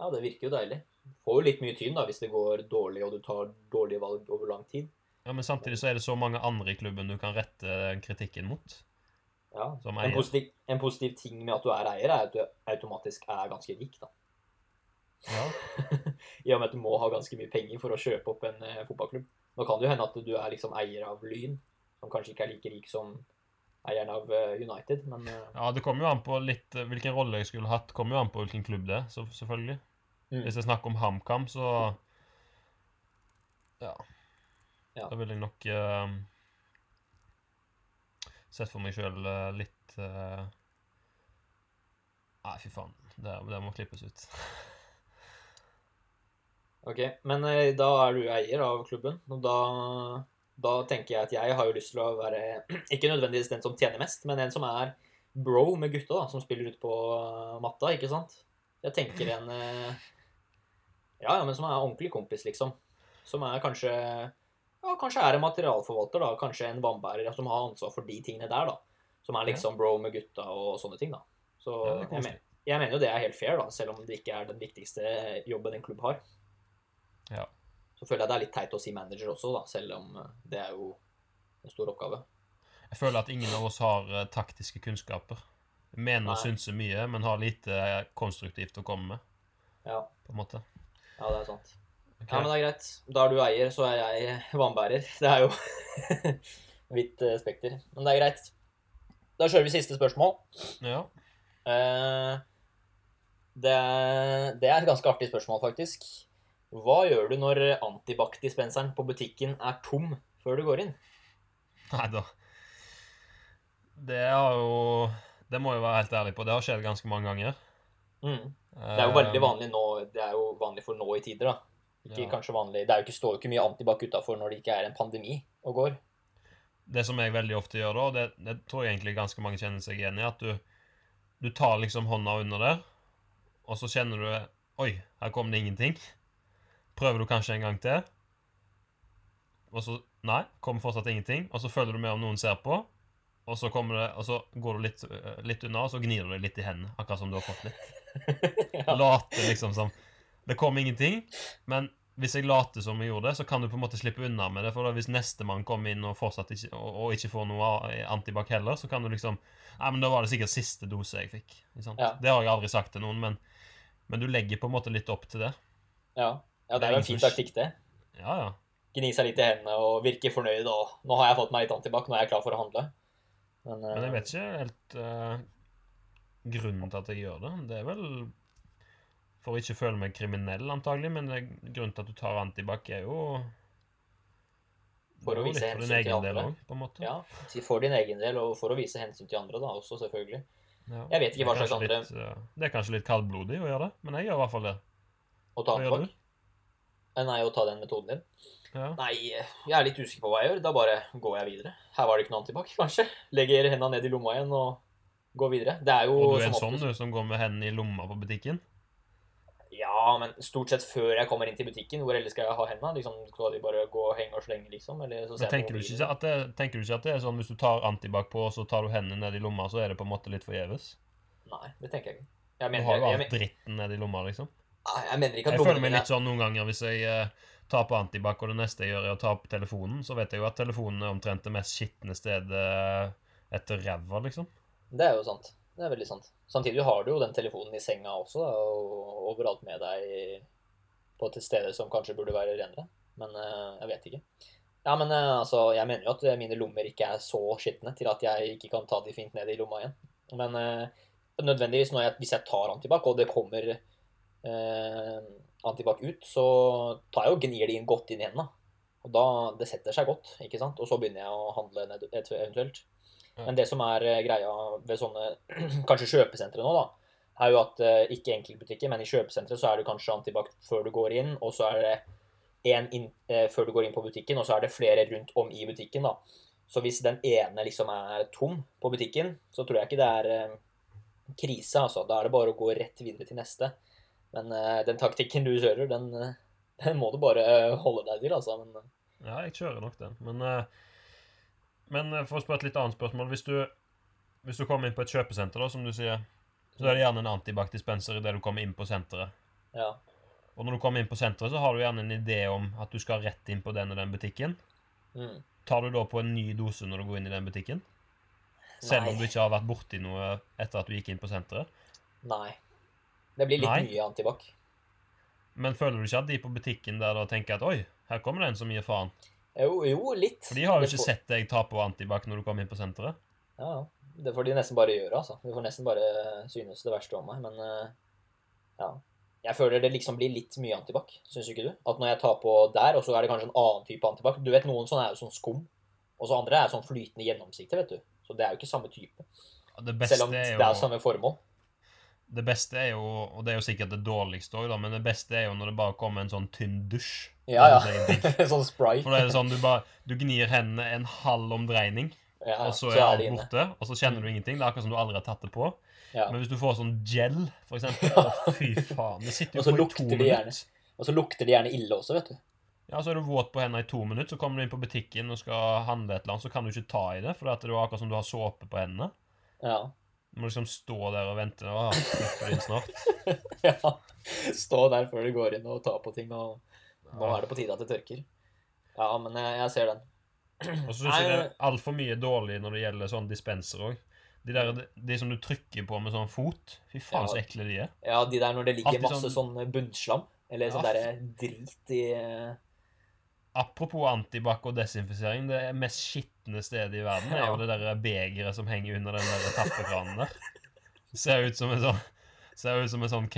Speaker 2: Ja, det virker jo deilig. Får jo litt mye tyn da, hvis det går dårlig og du tar dårlige valg over lang tid.
Speaker 1: Ja, Men samtidig så er det så mange andre i klubben du kan rette den kritikken mot.
Speaker 2: Ja.
Speaker 1: Som
Speaker 2: En
Speaker 1: eier.
Speaker 2: positiv, en positiv ting med at du er eier, er at du automatisk er ganske rik, da.
Speaker 1: Ja,
Speaker 2: I og med at du må ha ganske mye penger for å kjøpe opp en eh, fotballklubb. Nå kan det jo hende at du er liksom eier av Lyn, som kanskje ikke er like rik som eieren av eh, United, men eh,
Speaker 1: ja det kommer jo an på litt eh, hvilken rolle jeg skulle hatt. kommer jo an på hvilken klubb det er, så, selvfølgelig.
Speaker 2: Mm.
Speaker 1: Hvis det er snakk om HamKam, så ja.
Speaker 2: Ja.
Speaker 1: Da ville jeg nok eh, sett for meg sjøl litt eh, Nei, fy faen. Det, det må klippes ut.
Speaker 2: ok. Men eh, da er du eier av klubben, og da, da tenker jeg at jeg har jo lyst til å være ikke nødvendigvis den som tjener mest, men en som er bro med gutta, da, som spiller ute på eh, matta, ikke sant? Jeg tenker en eh, Ja, ja, men som er ordentlig kompis, liksom. Som er kanskje Ja, kanskje er en materialforvalter, da. Kanskje en vannbærer som har ansvar for de tingene der, da. Som er liksom bro med gutta og sånne ting, da. Så
Speaker 1: Ja, det er
Speaker 2: jeg,
Speaker 1: koselig.
Speaker 2: men, jeg mener jo det er helt fair, da, selv om det ikke er den viktigste jobben en klubb har.
Speaker 1: Ja.
Speaker 2: Så føler jeg det er litt teit å si manager også, da, selv om eh, det er jo en stor oppgave.
Speaker 1: Jeg føler at ingen av oss har eh, taktiske kunnskaper. Vi mener og
Speaker 2: Nei.
Speaker 1: synser mye, men har lite eh, konstruktivt å komme med.
Speaker 2: Ja,
Speaker 1: på en måte.
Speaker 2: ja det er sant.
Speaker 1: Ok.
Speaker 2: Ja, men det er greit. Da er du eier, så er jeg vannbærer. Det er jo vidt eh, spekter. Men det er greit. Da kjører vi siste spørsmål.
Speaker 1: Ja.
Speaker 2: Eh, det, er, det er et ganske artig spørsmål, faktisk. Hva gjør du når antibac-dispenseren på butikken er tom før du går inn?
Speaker 1: Nei da. Det har jo Det må jeg være helt ærlig på. Det har skjedd ganske mange ganger. Eh,
Speaker 2: Mm. Det er jo veldig vanlig nå, det er jo vanlig for nå i tider, da. Ikke
Speaker 1: Ja.
Speaker 2: kanskje vanlig, Det er jo ikke, står jo ikke mye antibac utafor når det ikke er en pandemi og går.
Speaker 1: Det som jeg veldig ofte gjør da, og det, det tror jeg egentlig ganske mange kjenner seg igjen i, at du, du tar liksom hånda under der, og så kjenner du Oi, her kom det ingenting. Prøver du kanskje en gang til, og så Nei, kommer fortsatt ingenting. Og så følger du med om noen ser på, og så, kommer det, og så går du litt, øh, litt unna, og så gnir du deg litt i hendene, akkurat som du har fått litt.
Speaker 2: ja.
Speaker 1: Late liksom som Det kom ingenting, men hvis jeg later som jeg gjorde det, så kan du på en måte slippe unna med det. For da hvis nestemann kommer inn og fortsatt ikke, og, og ikke får noe av- antibac heller, så kan du liksom Nei, men da var det sikkert siste dose jeg fikk. Ikke sant?
Speaker 2: Ja.
Speaker 1: Det har jeg aldri sagt til noen, men, men du legger på en måte litt opp til det.
Speaker 2: Ja. ja, det er jo en fin taktikk, det.
Speaker 1: Ja, ja.
Speaker 2: Gni seg litt i hendene og virke fornøyd. Og nå har jeg fått meg litt antibac, nå er jeg klar for å handle. Men,
Speaker 1: Men jeg vet ikke helt eh, grunnen til at jeg gjør det. Det er vel for å ikke føle meg kriminell, antagelig, men det, grunnen til at du tar antibac, er jo
Speaker 2: For
Speaker 1: det er
Speaker 2: å
Speaker 1: jo
Speaker 2: vise
Speaker 1: litt for din
Speaker 2: hensyn til
Speaker 1: egen del
Speaker 2: andre.
Speaker 1: også, på en måte.
Speaker 2: Ja, for din egen del, og for å vise hensyn til andre da, også, selvfølgelig.
Speaker 1: Ja.
Speaker 2: Jeg vet ikke hva
Speaker 1: Det er
Speaker 2: slags
Speaker 1: kanskje litt, eh, det er kanskje litt kaldblodig å gjøre det, men jeg gjør i hvert fall det.
Speaker 2: Å ta
Speaker 1: Hva gjør
Speaker 2: antibac. Eh, Nei, å ta den metoden din.
Speaker 1: Ja.
Speaker 2: Nei, jeg er litt usikker på hva jeg gjør. Da bare går jeg videre. Her var det ikke noe antibac, kanskje. Legger hendene ned i lomma igjen og går videre. Det er jo
Speaker 1: Og du er en
Speaker 2: som
Speaker 1: sånn
Speaker 2: oftest-
Speaker 1: du som går med hendene i lomma på butikken?
Speaker 2: Ja, men stort sett før jeg kommer inn til butikken, hvor ellers skal jeg ha hendene? Liksom, skal de bare gå og henge og slenge, liksom? Eller så
Speaker 1: Men
Speaker 2: ser jeg på
Speaker 1: tenker, du
Speaker 2: mobilen.
Speaker 1: ikke at det, tenker du ikke at det er sånn hvis du tar antibac på, og så tar du hendene ned i lomma, så er det på en måte litt forgjeves?
Speaker 2: Nei, det tenker jeg ikke. Jeg
Speaker 1: Du
Speaker 2: mener,
Speaker 1: har jo
Speaker 2: jeg,
Speaker 1: all
Speaker 2: jeg,
Speaker 1: dritten ned i lomma, liksom.
Speaker 2: Nei, jeg mener ikke at
Speaker 1: Jeg føler
Speaker 2: lommene
Speaker 1: meg
Speaker 2: mine
Speaker 1: litt sånn noen ganger hvis jeg eh, tar på antibac, og det neste jeg gjør, er å ta på telefonen, så vet jeg jo at telefonen er omtrent det mest skitne stedet etter ræva, liksom.
Speaker 2: Det er jo sant. Det er veldig sant. Samtidig har du jo den telefonen i senga også, da, og overalt med deg på et sted som kanskje burde være renere. Men eh, jeg vet ikke. Ja, men eh, altså, jeg mener jo at mine lommer ikke er så skitne til at jeg ikke kan ta de fint ned i lomma igjen. Men eh, nødvendigvis når jeg, hvis jeg tar antibac, og det kommer eh, antibac ut, så tar jeg og gnir det inn godt inn i hendene. Og da, det setter seg godt, ikke sant? Og så begynner jeg å handle ned, et- eventuelt.
Speaker 1: Ja.
Speaker 2: Men det som er eh, greia ved sånne, kanskje kjøpesentre nå da, er jo at eh, ikke i enkeltbutikker, men i kjøpesentre så er det kanskje antibac før du går inn, og så er det en inn, eh, før du går inn på butikken, og så er det flere rundt om i butikken. da. Så hvis den ene liksom er tom på butikken, så tror jeg ikke det er eh, krise, altså. Da er det bare å gå rett videre til neste. Men eh, den taktikken du kjører, den, eh, den må du bare eh, holde deg til, altså. Men eh,
Speaker 1: Ja, jeg kjører nok den. Men, eh, men eh, for å spørre et litt annet spørsmål Hvis du, hvis du kommer inn på et kjøpesenter, da, som du sier, så er det gjerne en antibac-dispenser idet du kommer inn på senteret.
Speaker 2: ja.
Speaker 1: Og når du kommer inn på senteret, så har du gjerne en idé om at du skal rett inn på den og den butikken.
Speaker 2: Mm.
Speaker 1: Tar du da på en ny dose når du går inn i den butikken? Selv om
Speaker 2: Nei.
Speaker 1: du ikke har vært borti noe etter at du gikk inn på senteret?
Speaker 2: Nei. Det blir litt
Speaker 1: Nei.
Speaker 2: mye antibac.
Speaker 1: Men føler du ikke at de på butikken der da tenker at oi, her kommer det en som gir faen?
Speaker 2: Jo, jo litt.
Speaker 1: For de har jo
Speaker 2: Det
Speaker 1: ikke
Speaker 2: får-
Speaker 1: sett deg ta på antibac når du kom inn på senteret.
Speaker 2: Ja, ja. Det får de nesten bare gjøre, altså. De får nesten bare synes det verste om meg, men eh, ja. Jeg føler det liksom blir litt mye antibac, syns ikke du? At når jeg tar på der, og så er det kanskje en annen type antibac Du vet, noen sånne er jo sånn skum, og så andre er sånn flytende gjennomsiktig, vet du. Så det er jo ikke samme type.
Speaker 1: Det beste
Speaker 2: selv om
Speaker 1: er
Speaker 2: det er sånn-
Speaker 1: jo
Speaker 2: samme formål.
Speaker 1: Det beste er jo, og det er jo sikkert det dårligste òg, men det beste er jo når det bare kommer en sånn tynn dusj.
Speaker 2: Ja,
Speaker 1: Det
Speaker 2: ja.
Speaker 1: er ingenting.
Speaker 2: sånn spray.
Speaker 1: For da er det sånn, du bare Du gnir hendene en halv omdreining,
Speaker 2: Ja, ja.
Speaker 1: og så er alt
Speaker 2: det inne. Mm.
Speaker 1: borte. Og så kjenner du ingenting. Det er akkurat som du aldri har tatt det på.
Speaker 2: Ja.
Speaker 1: Men hvis du får sånn gel, for eksempel,
Speaker 2: Ja.
Speaker 1: å, fy faen. Det sitter
Speaker 2: Og
Speaker 1: jo på i
Speaker 2: så
Speaker 1: to
Speaker 2: lukter det gjerne.
Speaker 1: minutter.
Speaker 2: Og så lukter det gjerne ille også, vet du.
Speaker 1: Ja, så er du våt på hendene i to minutter, så kommer du inn på butikken og skal handle et eller annet, så kan du ikke ta i det, for det er jo akkurat som du har såpe på hendene.
Speaker 2: Ja.
Speaker 1: Du må liksom stå der og vente. Å, slipper det inn snart.
Speaker 2: ja. Stå der før du går inn og ta på ting, og nå
Speaker 1: Ja.
Speaker 2: er det på tide at det tørker. Ja, men jeg, jeg ser den.
Speaker 1: Og så syns jeg det er altfor mye dårlig når det gjelder sånn dispenser òg. De, der- de som du trykker på med sånn fot. Fy faen,
Speaker 2: Ja.
Speaker 1: så ekle de er.
Speaker 2: Ja, de der når det ligger
Speaker 1: Alltid
Speaker 2: masse sånn bunnslam, eller
Speaker 1: Ja.
Speaker 2: sånn derre drit i eh,
Speaker 1: Apropos antibac og desinfisering. Det mest skitne stedet i verden er
Speaker 2: Ja.
Speaker 1: jo det der begeret som henger under den der tappekranen der. Ser ut som en sånn Ser ut som en sånn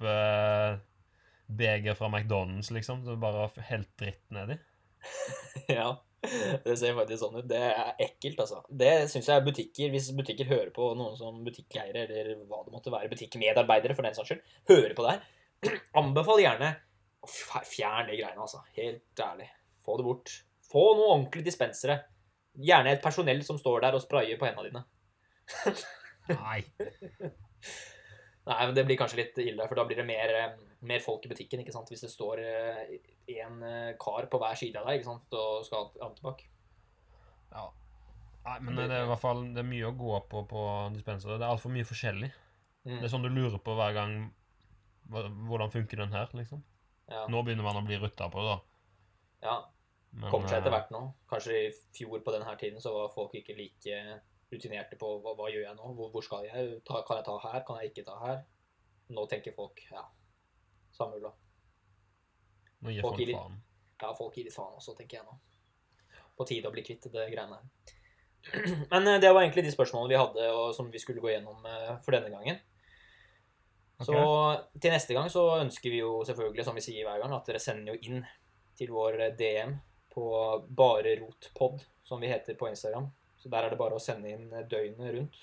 Speaker 1: ketsjup-beger fra McDonald's, liksom. Som bare har helt dritt nedi.
Speaker 2: Ja. Det ser faktisk sånn ut. Det er ekkelt, altså. Det syns jeg er butikker Hvis butikker hører på noen som butikkeiere, eller hva det måtte være, butikkmedarbeidere for den saks skyld, hører på det her, anbefal gjerne å f- Fjern de greiene, altså. Helt ærlig. Få det bort. Få noen ordentlige dispensere. Gjerne et personell som står der og sprayer på hendene dine.
Speaker 1: Nei.
Speaker 2: Nei, men det blir kanskje litt ille, for da blir det mer, eh, mer folk i butikken, ikke sant? Hvis det står én kar på hver side av deg, ikke sant, og skal ha antibac.
Speaker 1: Ja. Nei, men det er i hvert fall det er mye å gå på på dispensere. Det er altfor mye forskjellig.
Speaker 2: Mm.
Speaker 1: Det er sånn du lurer på hver gang hva- Hvordan funker den her, liksom?
Speaker 2: Ja.
Speaker 1: Nå begynner man å bli rutta på, da.
Speaker 2: ja.
Speaker 1: Men,
Speaker 2: Kommer seg etter
Speaker 1: eh,
Speaker 2: hvert nå. Kanskje i fjor på denne tiden så var folk ikke like rutinerte på hva, hva gjør jeg nå, hvor, hvor skal jeg, ta, kan jeg ta her, kan jeg ikke ta her? Nå tenker folk ja, samme ulla.
Speaker 1: Nå gir
Speaker 2: folk
Speaker 1: folk
Speaker 2: gir litt-
Speaker 1: faen.
Speaker 2: Ja, folk gir litt faen også, tenker jeg nå. På tide å bli kvitt det greiene her. Men eh, det var egentlig de spørsmålene vi hadde og som vi skulle gå gjennom eh, for denne gangen.
Speaker 1: Ok.
Speaker 2: Så til neste gang så ønsker vi jo selvfølgelig, som vi sier hver gang, at dere sender jo inn til vår eh, DM på barerotpod, som vi heter på Instagram. Så der er det bare å sende inn eh, døgnet rundt.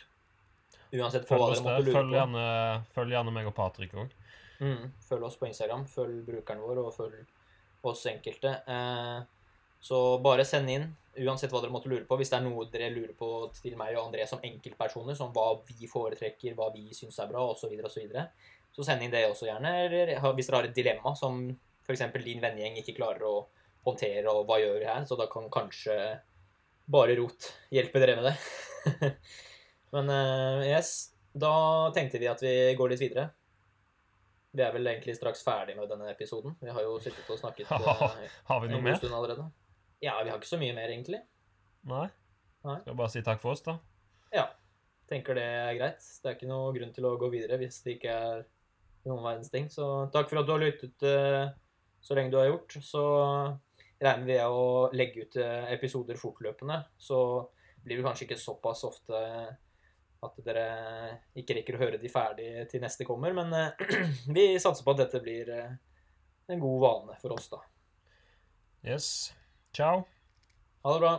Speaker 2: Uansett på
Speaker 1: Følg
Speaker 2: hva
Speaker 1: oss der.
Speaker 2: dere måtte lure
Speaker 1: Følg
Speaker 2: på.
Speaker 1: gjerne, følg gjerne meg og Patrick òg.
Speaker 2: Mm. Følg oss på Instagram, følg brukeren vår, og følg oss enkelte. Eh, så bare send inn, uansett hva dere måtte lure på. Hvis det er noe dere lurer på til meg og André som enkeltpersoner, som hva vi foretrekker, hva vi syns er bra, osv., osv., så send inn det også gjerne. Eller ha- hvis dere har et dilemma som f.eks. din vennegjeng ikke klarer å håndtere, og hva gjør vi her? Så da kan kanskje bare rot hjelpe dere med det. Men eh, yes, da tenkte vi at vi går litt videre. Vi er vel egentlig straks ferdig med denne episoden. Vi har jo sittet og snakket eh,
Speaker 1: Har vi
Speaker 2: en
Speaker 1: noe
Speaker 2: god
Speaker 1: mer?
Speaker 2: stund allerede. Ja, vi har ikke så mye mer, egentlig.
Speaker 1: Nei?
Speaker 2: Nei.
Speaker 1: Skal bare si takk for oss, da.
Speaker 2: Tenker det er greit. Det er ikke noe grunn til å gå videre hvis det ikke er noen verdens ting. Så takk for at du har lyttet eh, så lenge du har gjort. Så regner vi med å legge ut eh, episoder fortløpende, så blir det kanskje ikke såpass ofte eh, at dere ikke rekker å høre de ferdig til neste kommer, men eh, vi satser på at dette blir eh, en god vane for oss, da.
Speaker 1: Yes. Ciao.
Speaker 2: Ha det bra.